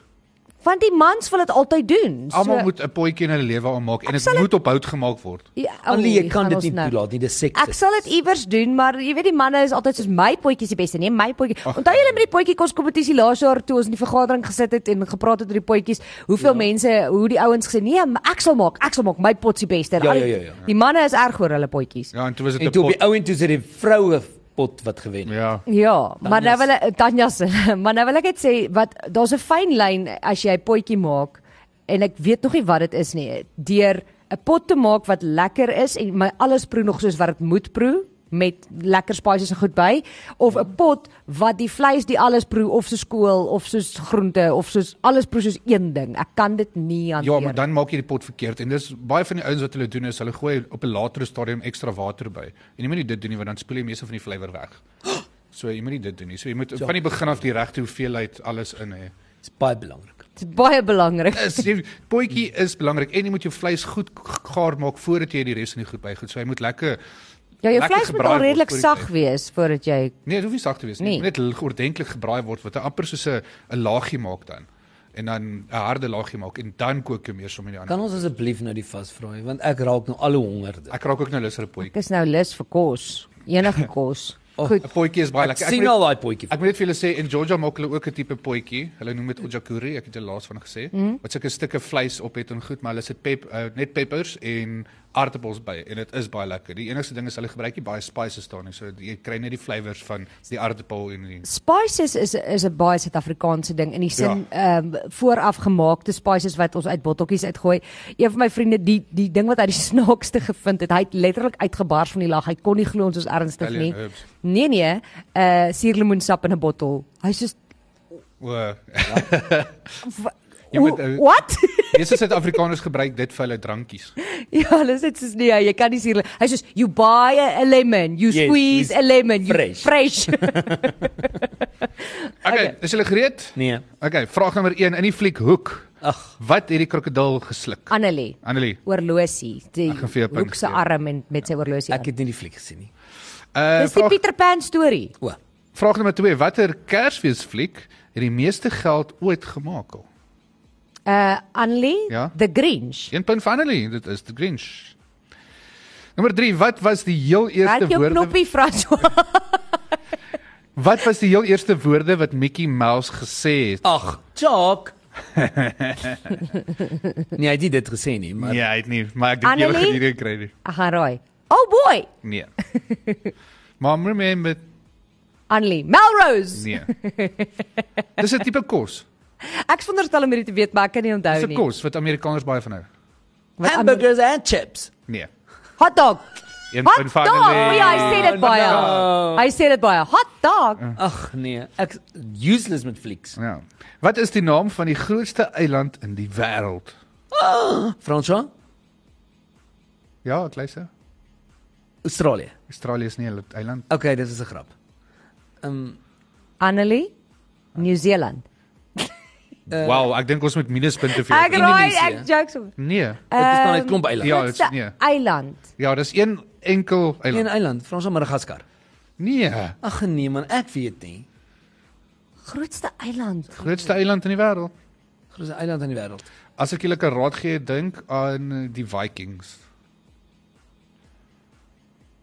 [SPEAKER 2] van die mans wil dit altyd doen.
[SPEAKER 4] Almal moet 'n potjie in hulle lewe aanmaak en
[SPEAKER 2] sal
[SPEAKER 4] dit
[SPEAKER 2] het-
[SPEAKER 4] moet op hout gemaak word.
[SPEAKER 2] ja, ou,
[SPEAKER 3] Annelie, Oh, nee, jy
[SPEAKER 2] hier
[SPEAKER 3] kan
[SPEAKER 2] gaan
[SPEAKER 3] dit
[SPEAKER 2] ons
[SPEAKER 3] nie
[SPEAKER 2] nou.
[SPEAKER 3] toelaat nie, dis seksis.
[SPEAKER 2] Ek sal dit iewers doen, maar jy weet die manne is altyd soos my potjie is die beste. Nee, my potjie. Onthou julle met die potjie kos kompetisie laas jaar toe ons in die vergadering gesit het en gepraat het oor die potjies, hoeveel ja. mense, hoe die ouens gesê, nee, maar ek sal maak, ek sal maak my pot se beste. En
[SPEAKER 3] Ja,
[SPEAKER 2] al
[SPEAKER 3] ja,
[SPEAKER 2] die-
[SPEAKER 3] ja, ja.
[SPEAKER 2] Die manne is erg oor hulle potjies. Ja,
[SPEAKER 4] Ja, en toe was dit
[SPEAKER 3] En
[SPEAKER 4] 'n
[SPEAKER 3] toe op
[SPEAKER 4] pot.
[SPEAKER 3] die ou en toe is dit die vroue pot wat gewen het.
[SPEAKER 4] Ja.
[SPEAKER 2] maar nou wil ek Tanya se, maar nou wil ek net sê wat daar's 'n fyn lyn as jy 'n potjie maak en ek weet nog nie wat dit is nie. Deur 'n pot te maak wat lekker is en my alles proe nog soos wat dit moet proe met lekker spices en goed by of 'n pot wat die vleis die alles proe of soos kool of soos groente of soos alles proe soos een ding. Ek kan dit nie hanteer.
[SPEAKER 4] Ja, maar dan maak jy die pot verkeerd en dis baie van die ouens wat hulle doen is hulle gooi op 'n latere stadium ekstra water by. En jy moet nie dit doen nie want dan spoel jy meeste van die flavour weg. So jy moet nie dit doen nie. So jy moet
[SPEAKER 2] Ja.
[SPEAKER 4] van die begin af die regte hoeveelheid alles in hê.
[SPEAKER 3] Dis baie belangrik.
[SPEAKER 2] dit is baie belangrik.
[SPEAKER 4] is die potjie is belangrik en jy moet jou vleis goed g- gaar maak voordat jy die res in die goed bygoed. So hy moet lekker
[SPEAKER 2] Ja, jou
[SPEAKER 4] lekker
[SPEAKER 2] vleis moet
[SPEAKER 4] gebraai
[SPEAKER 2] al
[SPEAKER 4] word
[SPEAKER 2] redelik
[SPEAKER 4] voor die
[SPEAKER 2] sag
[SPEAKER 4] tyd.
[SPEAKER 2] wees voordat jy
[SPEAKER 4] Nee, dit hoef nie sag te wees nie.
[SPEAKER 2] Nee.
[SPEAKER 4] Nee. Net l- ordentlik gebraai word wat 'n amper soos 'n 'n laagie maak dan. En dan 'n harde laagie maak en dan kook jy meer sommer die ander.
[SPEAKER 3] Kan ons asseblief nou die vas vra, want ek raak nou al hoe honger. dit.
[SPEAKER 4] Ek raak ook nou lus vir 'n potjie.
[SPEAKER 2] Ek is nou lus vir kos, enige kos. Goed.
[SPEAKER 4] 'n Potjie is baie
[SPEAKER 3] Ek
[SPEAKER 4] lekker.
[SPEAKER 3] sien
[SPEAKER 4] moet-
[SPEAKER 3] al daai potjie.
[SPEAKER 4] Ek moet net vir julle sê in Georgia maak hulle ook 'n tipe potjie. Hulle noem dit ojakuri, ek het julle laas van gesê. Mm. Wat sulke stukke vleis op het en goed, maar hulle sit pep uh, net peppers en aartappels by en dit is baie lekker. Die enigste ding is hulle gebruik nie baie spices daarin, so jy kry net die flavours van die aartappel en die
[SPEAKER 2] Spices is is 'n baie Suid-Afrikaanse ding
[SPEAKER 3] Ja.
[SPEAKER 2] in die sin ehm vooraf gemaakte spices wat ons uit botteltjies uitgooi. Een van my vriende die die ding wat hy die snaakste gevind het, hy het letterlik uitgebars van die lag. Hy kon nie glo ons was ernstig
[SPEAKER 4] Italian
[SPEAKER 2] nie.
[SPEAKER 4] herbs.
[SPEAKER 2] Nee nee, uh suurlemoensap in 'n bottel. Hy sê
[SPEAKER 4] o. Jy moet
[SPEAKER 2] "Hoe-
[SPEAKER 3] eh,
[SPEAKER 4] uh,
[SPEAKER 2] "What?"
[SPEAKER 4] meeste Suid-Afrikaners gebruik dit vir hulle drankies.
[SPEAKER 2] ja, hulle sê dit is nee, jy kan nie suurle. Hy sê "You buy a, a lemon, you
[SPEAKER 3] Yes,
[SPEAKER 2] squeeze
[SPEAKER 3] you
[SPEAKER 2] a lemon, you
[SPEAKER 3] fresh."
[SPEAKER 2] fresh."
[SPEAKER 4] Okay, is julle gereed?
[SPEAKER 3] Nee.
[SPEAKER 4] Okay, vraag nommer 1 in die fliek Hoek.
[SPEAKER 3] Ag,
[SPEAKER 4] Wat het die krokodil gesluk?
[SPEAKER 2] Annelie.
[SPEAKER 4] Annelie.
[SPEAKER 2] Oorlosie, die
[SPEAKER 4] Ek gaan vir jou 'n punt
[SPEAKER 2] hoek se
[SPEAKER 4] gee.
[SPEAKER 2] arm en met sy oorlosie. aan.
[SPEAKER 3] ja. ek het eh, nie die fliek gesien nie.
[SPEAKER 4] Uh
[SPEAKER 2] Dis die Pieter Pan storie.
[SPEAKER 3] O,
[SPEAKER 4] Vraag nommer 2, watter Kersfeesfliek het die meeste geld ooit gemaak al?
[SPEAKER 2] Uh Anlie,
[SPEAKER 4] Ja?
[SPEAKER 2] The Grinch.
[SPEAKER 4] Een punt vir Annelie, dit is the Grinch. Nommer 3, wat was die heel eerste
[SPEAKER 2] Raak jou
[SPEAKER 4] woorde
[SPEAKER 2] knoppie François.
[SPEAKER 4] Wat was die heel eerste woorde wat Mickey Mouse gesê het?
[SPEAKER 3] Ag, Jock. nee, hy het nie dit gesê nie, maar
[SPEAKER 4] Nee, hy het nie, maar ek dink jy gaan
[SPEAKER 2] Annelie?
[SPEAKER 4] hierdie kry nie.
[SPEAKER 2] Ek gaan raai. Oh boy.
[SPEAKER 4] Nee. maar remember,
[SPEAKER 2] Anlie, Melrose.
[SPEAKER 4] nee. Dis 'n tipe kos.
[SPEAKER 2] Ek veronderstel om hierdie te weet, maar ek kan nie onthou
[SPEAKER 4] Nee. Dis 'n
[SPEAKER 2] nie.
[SPEAKER 4] kos wat Amerikaners baie van hou.
[SPEAKER 2] Wat aan-
[SPEAKER 3] hamburgers eh, and chips.
[SPEAKER 4] Nee.
[SPEAKER 2] Hot dog.
[SPEAKER 4] Een
[SPEAKER 2] Hot
[SPEAKER 4] punt vir
[SPEAKER 2] dog. Oh, ja, hy
[SPEAKER 4] Annelie.
[SPEAKER 2] sê dit baie.
[SPEAKER 3] no.
[SPEAKER 2] Hy sê dit baie. Hot dog.
[SPEAKER 3] Ag nee, ek useless met flieks.
[SPEAKER 4] Ja. Wat is die naam van die grootste eiland in die wêreld?
[SPEAKER 3] François,
[SPEAKER 4] Ja, ek luister.
[SPEAKER 3] Australië.
[SPEAKER 4] Australië is nie 'n eiland.
[SPEAKER 3] Okay, dit is 'n grap. Ehm um,
[SPEAKER 2] Annelie, New Zealand.
[SPEAKER 4] Uh, wow, ek dink ons moet minuspunte vir jou.
[SPEAKER 2] Eh. Ek
[SPEAKER 4] gee.
[SPEAKER 2] raai,
[SPEAKER 3] Indonesië.
[SPEAKER 2] ek jokes om.
[SPEAKER 4] Nee.
[SPEAKER 3] dit is dan 'n
[SPEAKER 2] Ehm,
[SPEAKER 3] klomp eilande.
[SPEAKER 4] Ja,
[SPEAKER 3] Ja,
[SPEAKER 4] dit
[SPEAKER 2] Grootste
[SPEAKER 4] is nee.
[SPEAKER 2] eiland.
[SPEAKER 4] Ja, dis een enkel
[SPEAKER 3] een
[SPEAKER 4] eiland.
[SPEAKER 3] eiland, François Madagaskar.
[SPEAKER 4] Nee.
[SPEAKER 3] Ag nee man, ek weet nie.
[SPEAKER 2] Grootste eiland.
[SPEAKER 4] Grootste eiland in die wêreld.
[SPEAKER 3] Grootste eiland in die wêreld.
[SPEAKER 4] As ek julle 'n raad gee, dink aan eh, die Vikings.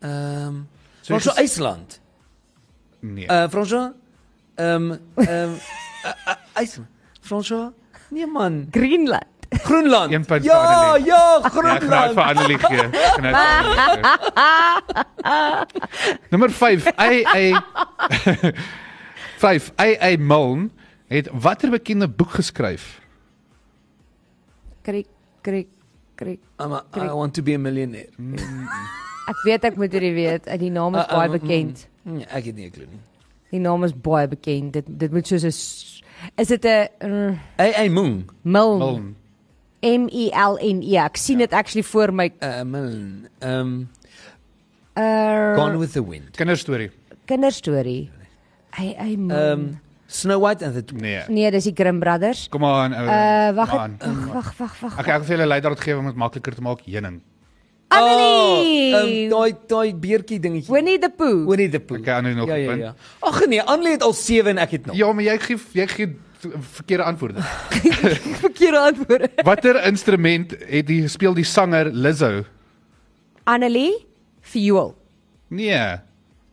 [SPEAKER 3] Ehm um,
[SPEAKER 4] So jy
[SPEAKER 3] François
[SPEAKER 4] ges-
[SPEAKER 3] IJsland.
[SPEAKER 4] Nee.
[SPEAKER 3] Eh uh, François ehm um, ehm um, IJsland. François Nee man,
[SPEAKER 2] Greenland.
[SPEAKER 3] Groenland.
[SPEAKER 4] Een punt vir
[SPEAKER 3] ja,
[SPEAKER 4] Annelie. Ja,
[SPEAKER 3] ja,
[SPEAKER 4] ek raai
[SPEAKER 3] Groenland.
[SPEAKER 4] vir Annelie gee. Ek nou kan dit nie. Nommer 5. AA 5. AA Milne het watter bekende boek geskryf?
[SPEAKER 2] Krik, krik, krik.
[SPEAKER 3] I'm a, I want to be a millionaire.
[SPEAKER 2] Ek weet ek moet hierdie weet. eh, Die naam is
[SPEAKER 3] Uh,
[SPEAKER 2] baie
[SPEAKER 4] mm,
[SPEAKER 3] um,
[SPEAKER 2] bekend.
[SPEAKER 3] Nee, ek het nie 'n klou nie.
[SPEAKER 2] Die naam is baie bekend. Dit dit moet soos 'n s- is dit 'n mm,
[SPEAKER 3] Hey, hey Moon.
[SPEAKER 2] mil
[SPEAKER 4] Milne.
[SPEAKER 2] M E L N E. Ek sien dit actually voor my.
[SPEAKER 3] Uh Moon. Um Gone
[SPEAKER 2] Uh,
[SPEAKER 3] with the Wind.
[SPEAKER 4] Kinderstorie.
[SPEAKER 2] kinderstorie. Ai ai man.
[SPEAKER 3] Um Snow White and the Two.
[SPEAKER 4] Nee.
[SPEAKER 2] Nee, dis die Grimm Brothers.
[SPEAKER 4] Kom aan ou.
[SPEAKER 2] Uh
[SPEAKER 3] Eh,
[SPEAKER 2] wag,
[SPEAKER 4] Ja. Kom
[SPEAKER 2] het-
[SPEAKER 4] aan.
[SPEAKER 2] ag, wag, wag, wag.
[SPEAKER 4] Ek ek wil vir julle 'n leidraad gee om dit makliker te maak, heuning.
[SPEAKER 2] Annelie.
[SPEAKER 3] um, daai daai beertjie dingetjie.
[SPEAKER 2] Winnie the Pooh.
[SPEAKER 3] Winnie the Pooh.
[SPEAKER 4] Ek kan nou nog
[SPEAKER 3] ja,
[SPEAKER 4] een
[SPEAKER 3] ja,
[SPEAKER 4] punt.
[SPEAKER 3] ja. Ag nee, Annelie het al 7 en ek het nog.
[SPEAKER 4] Ja, maar jy gee jy gee verkeerde antwoorde.
[SPEAKER 2] Verkeerde antwoord.
[SPEAKER 4] Watter instrument het die speel die sanger Lizzo?
[SPEAKER 2] Annelie Fuel.
[SPEAKER 4] Nee.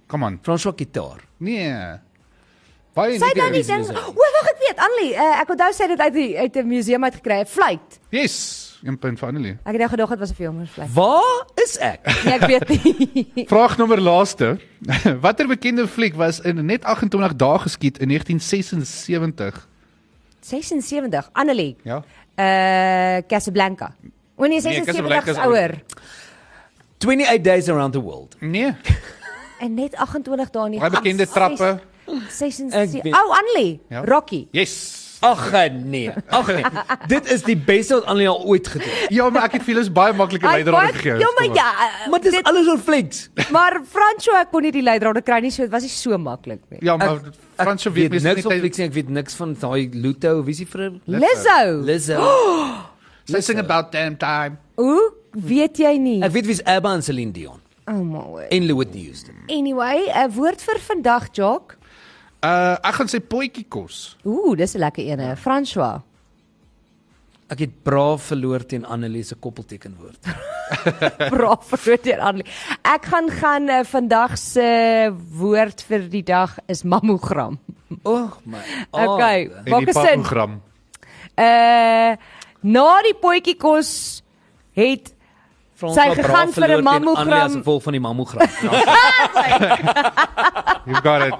[SPEAKER 4] Kom aan.
[SPEAKER 3] François Gitaar.
[SPEAKER 4] Nee. Baie
[SPEAKER 2] Sy het nou nie
[SPEAKER 4] nie.
[SPEAKER 2] ding. O, wag, ek weet. Annelie, uh, ek onthou sy het dit uit die uit 'n museum uit gekry, 'n fluit.
[SPEAKER 4] Yes, 'n punt vir Annelie.
[SPEAKER 2] Ek het nou gedog dit was 'n filmersvlek.
[SPEAKER 3] Waar is ek?
[SPEAKER 2] Nee, ek weet nie.
[SPEAKER 4] Vraag nommer laaste. Watter bekende fliek was in net 28 dae geskiet in 1976?
[SPEAKER 2] 76, Annelie.
[SPEAKER 4] Ja.
[SPEAKER 2] Uh Casablanca. O nee,
[SPEAKER 4] Casablanca
[SPEAKER 2] 76
[SPEAKER 4] is
[SPEAKER 2] is ouer.
[SPEAKER 3] 28 days around the world.
[SPEAKER 4] Nee.
[SPEAKER 2] En net 28 daar in die
[SPEAKER 4] Baie bekende trappe.
[SPEAKER 3] Ek
[SPEAKER 2] 76.
[SPEAKER 3] weet-
[SPEAKER 2] Ou Annelie,
[SPEAKER 4] Ja.
[SPEAKER 2] Rocky.
[SPEAKER 4] Yes.
[SPEAKER 3] Ag nee. Ag nee. Dit is die beste wat Annelie al ooit gedoen het.
[SPEAKER 4] Ja, maar ek het vieles baie makliker
[SPEAKER 2] Ai,
[SPEAKER 4] leidraad
[SPEAKER 2] wat?
[SPEAKER 4] gegee.
[SPEAKER 2] Ja, maar ja. eh,
[SPEAKER 3] Maar dit is alles oor flieks.
[SPEAKER 2] maar Franco ek kon nie die leidrade kry nie, so dit was nie so maklik nie.
[SPEAKER 4] Ja, maar Frans se weet mens
[SPEAKER 3] niks van
[SPEAKER 4] net
[SPEAKER 3] flieks nie. Ek weet niks van daai Luto, wie is die vrou?
[SPEAKER 2] Lizzo.
[SPEAKER 3] Lizzo.
[SPEAKER 4] Sy sing about damn time.
[SPEAKER 2] Hoe weet jy nie?
[SPEAKER 3] Ek weet wie's Abba en Celine Dion
[SPEAKER 2] Oh my word.
[SPEAKER 3] en Whitney Houston.
[SPEAKER 2] Anyway, 'n woord vir vandag, Jock.
[SPEAKER 4] Uh ek gaan sy potjie kos.
[SPEAKER 2] Ooh, dis 'n lekker een, François.
[SPEAKER 3] Ek het braaf verloor teen Annelie se koppeltekenwoord.
[SPEAKER 2] Braaf verloot deur Annelie. Ek gaan gaan uh, vandag se eh, woord vir die dag is mammogram.
[SPEAKER 3] Oeg Oh my.
[SPEAKER 2] Okay,
[SPEAKER 3] aarde.
[SPEAKER 4] en
[SPEAKER 2] maak
[SPEAKER 4] die
[SPEAKER 2] 'n sin.
[SPEAKER 4] program.
[SPEAKER 2] Uh na die potjie kos het
[SPEAKER 3] Frans
[SPEAKER 2] Sy
[SPEAKER 3] wat braaf
[SPEAKER 2] gegaan vir 'n
[SPEAKER 3] verloor teen
[SPEAKER 2] mammogram.
[SPEAKER 3] Annelie as gevolg van die mammogram.
[SPEAKER 4] You got it.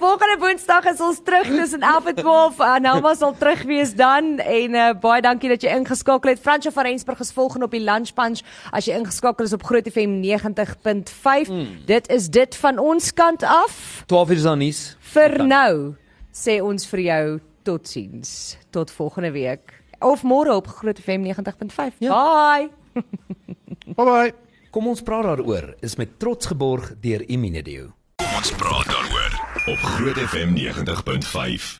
[SPEAKER 2] volgende Woensdag is ons terug tussen 11 en Ah, 12. Anelma sal terug wees dan en uh, baie dankie dat jy ingeskakel het. Fransjo van Rensburg is volgende op die Lunch Punch as jy ingeskakel is op Groot FM 90.5.
[SPEAKER 3] Hmm.
[SPEAKER 2] Mm. Dit is dit van ons kant af.
[SPEAKER 3] 12 uur is dan nuus.
[SPEAKER 2] Vir nou sê ons vir jou totsiens. Tot volgende week of môre op Groot FM 90.5. Ja. Bye.
[SPEAKER 4] Bye bye.
[SPEAKER 3] Kom ons praat daaroor is met trots geborg deur Imunedio.
[SPEAKER 1] Kom ons praat daaroor op Groot FM 90.5.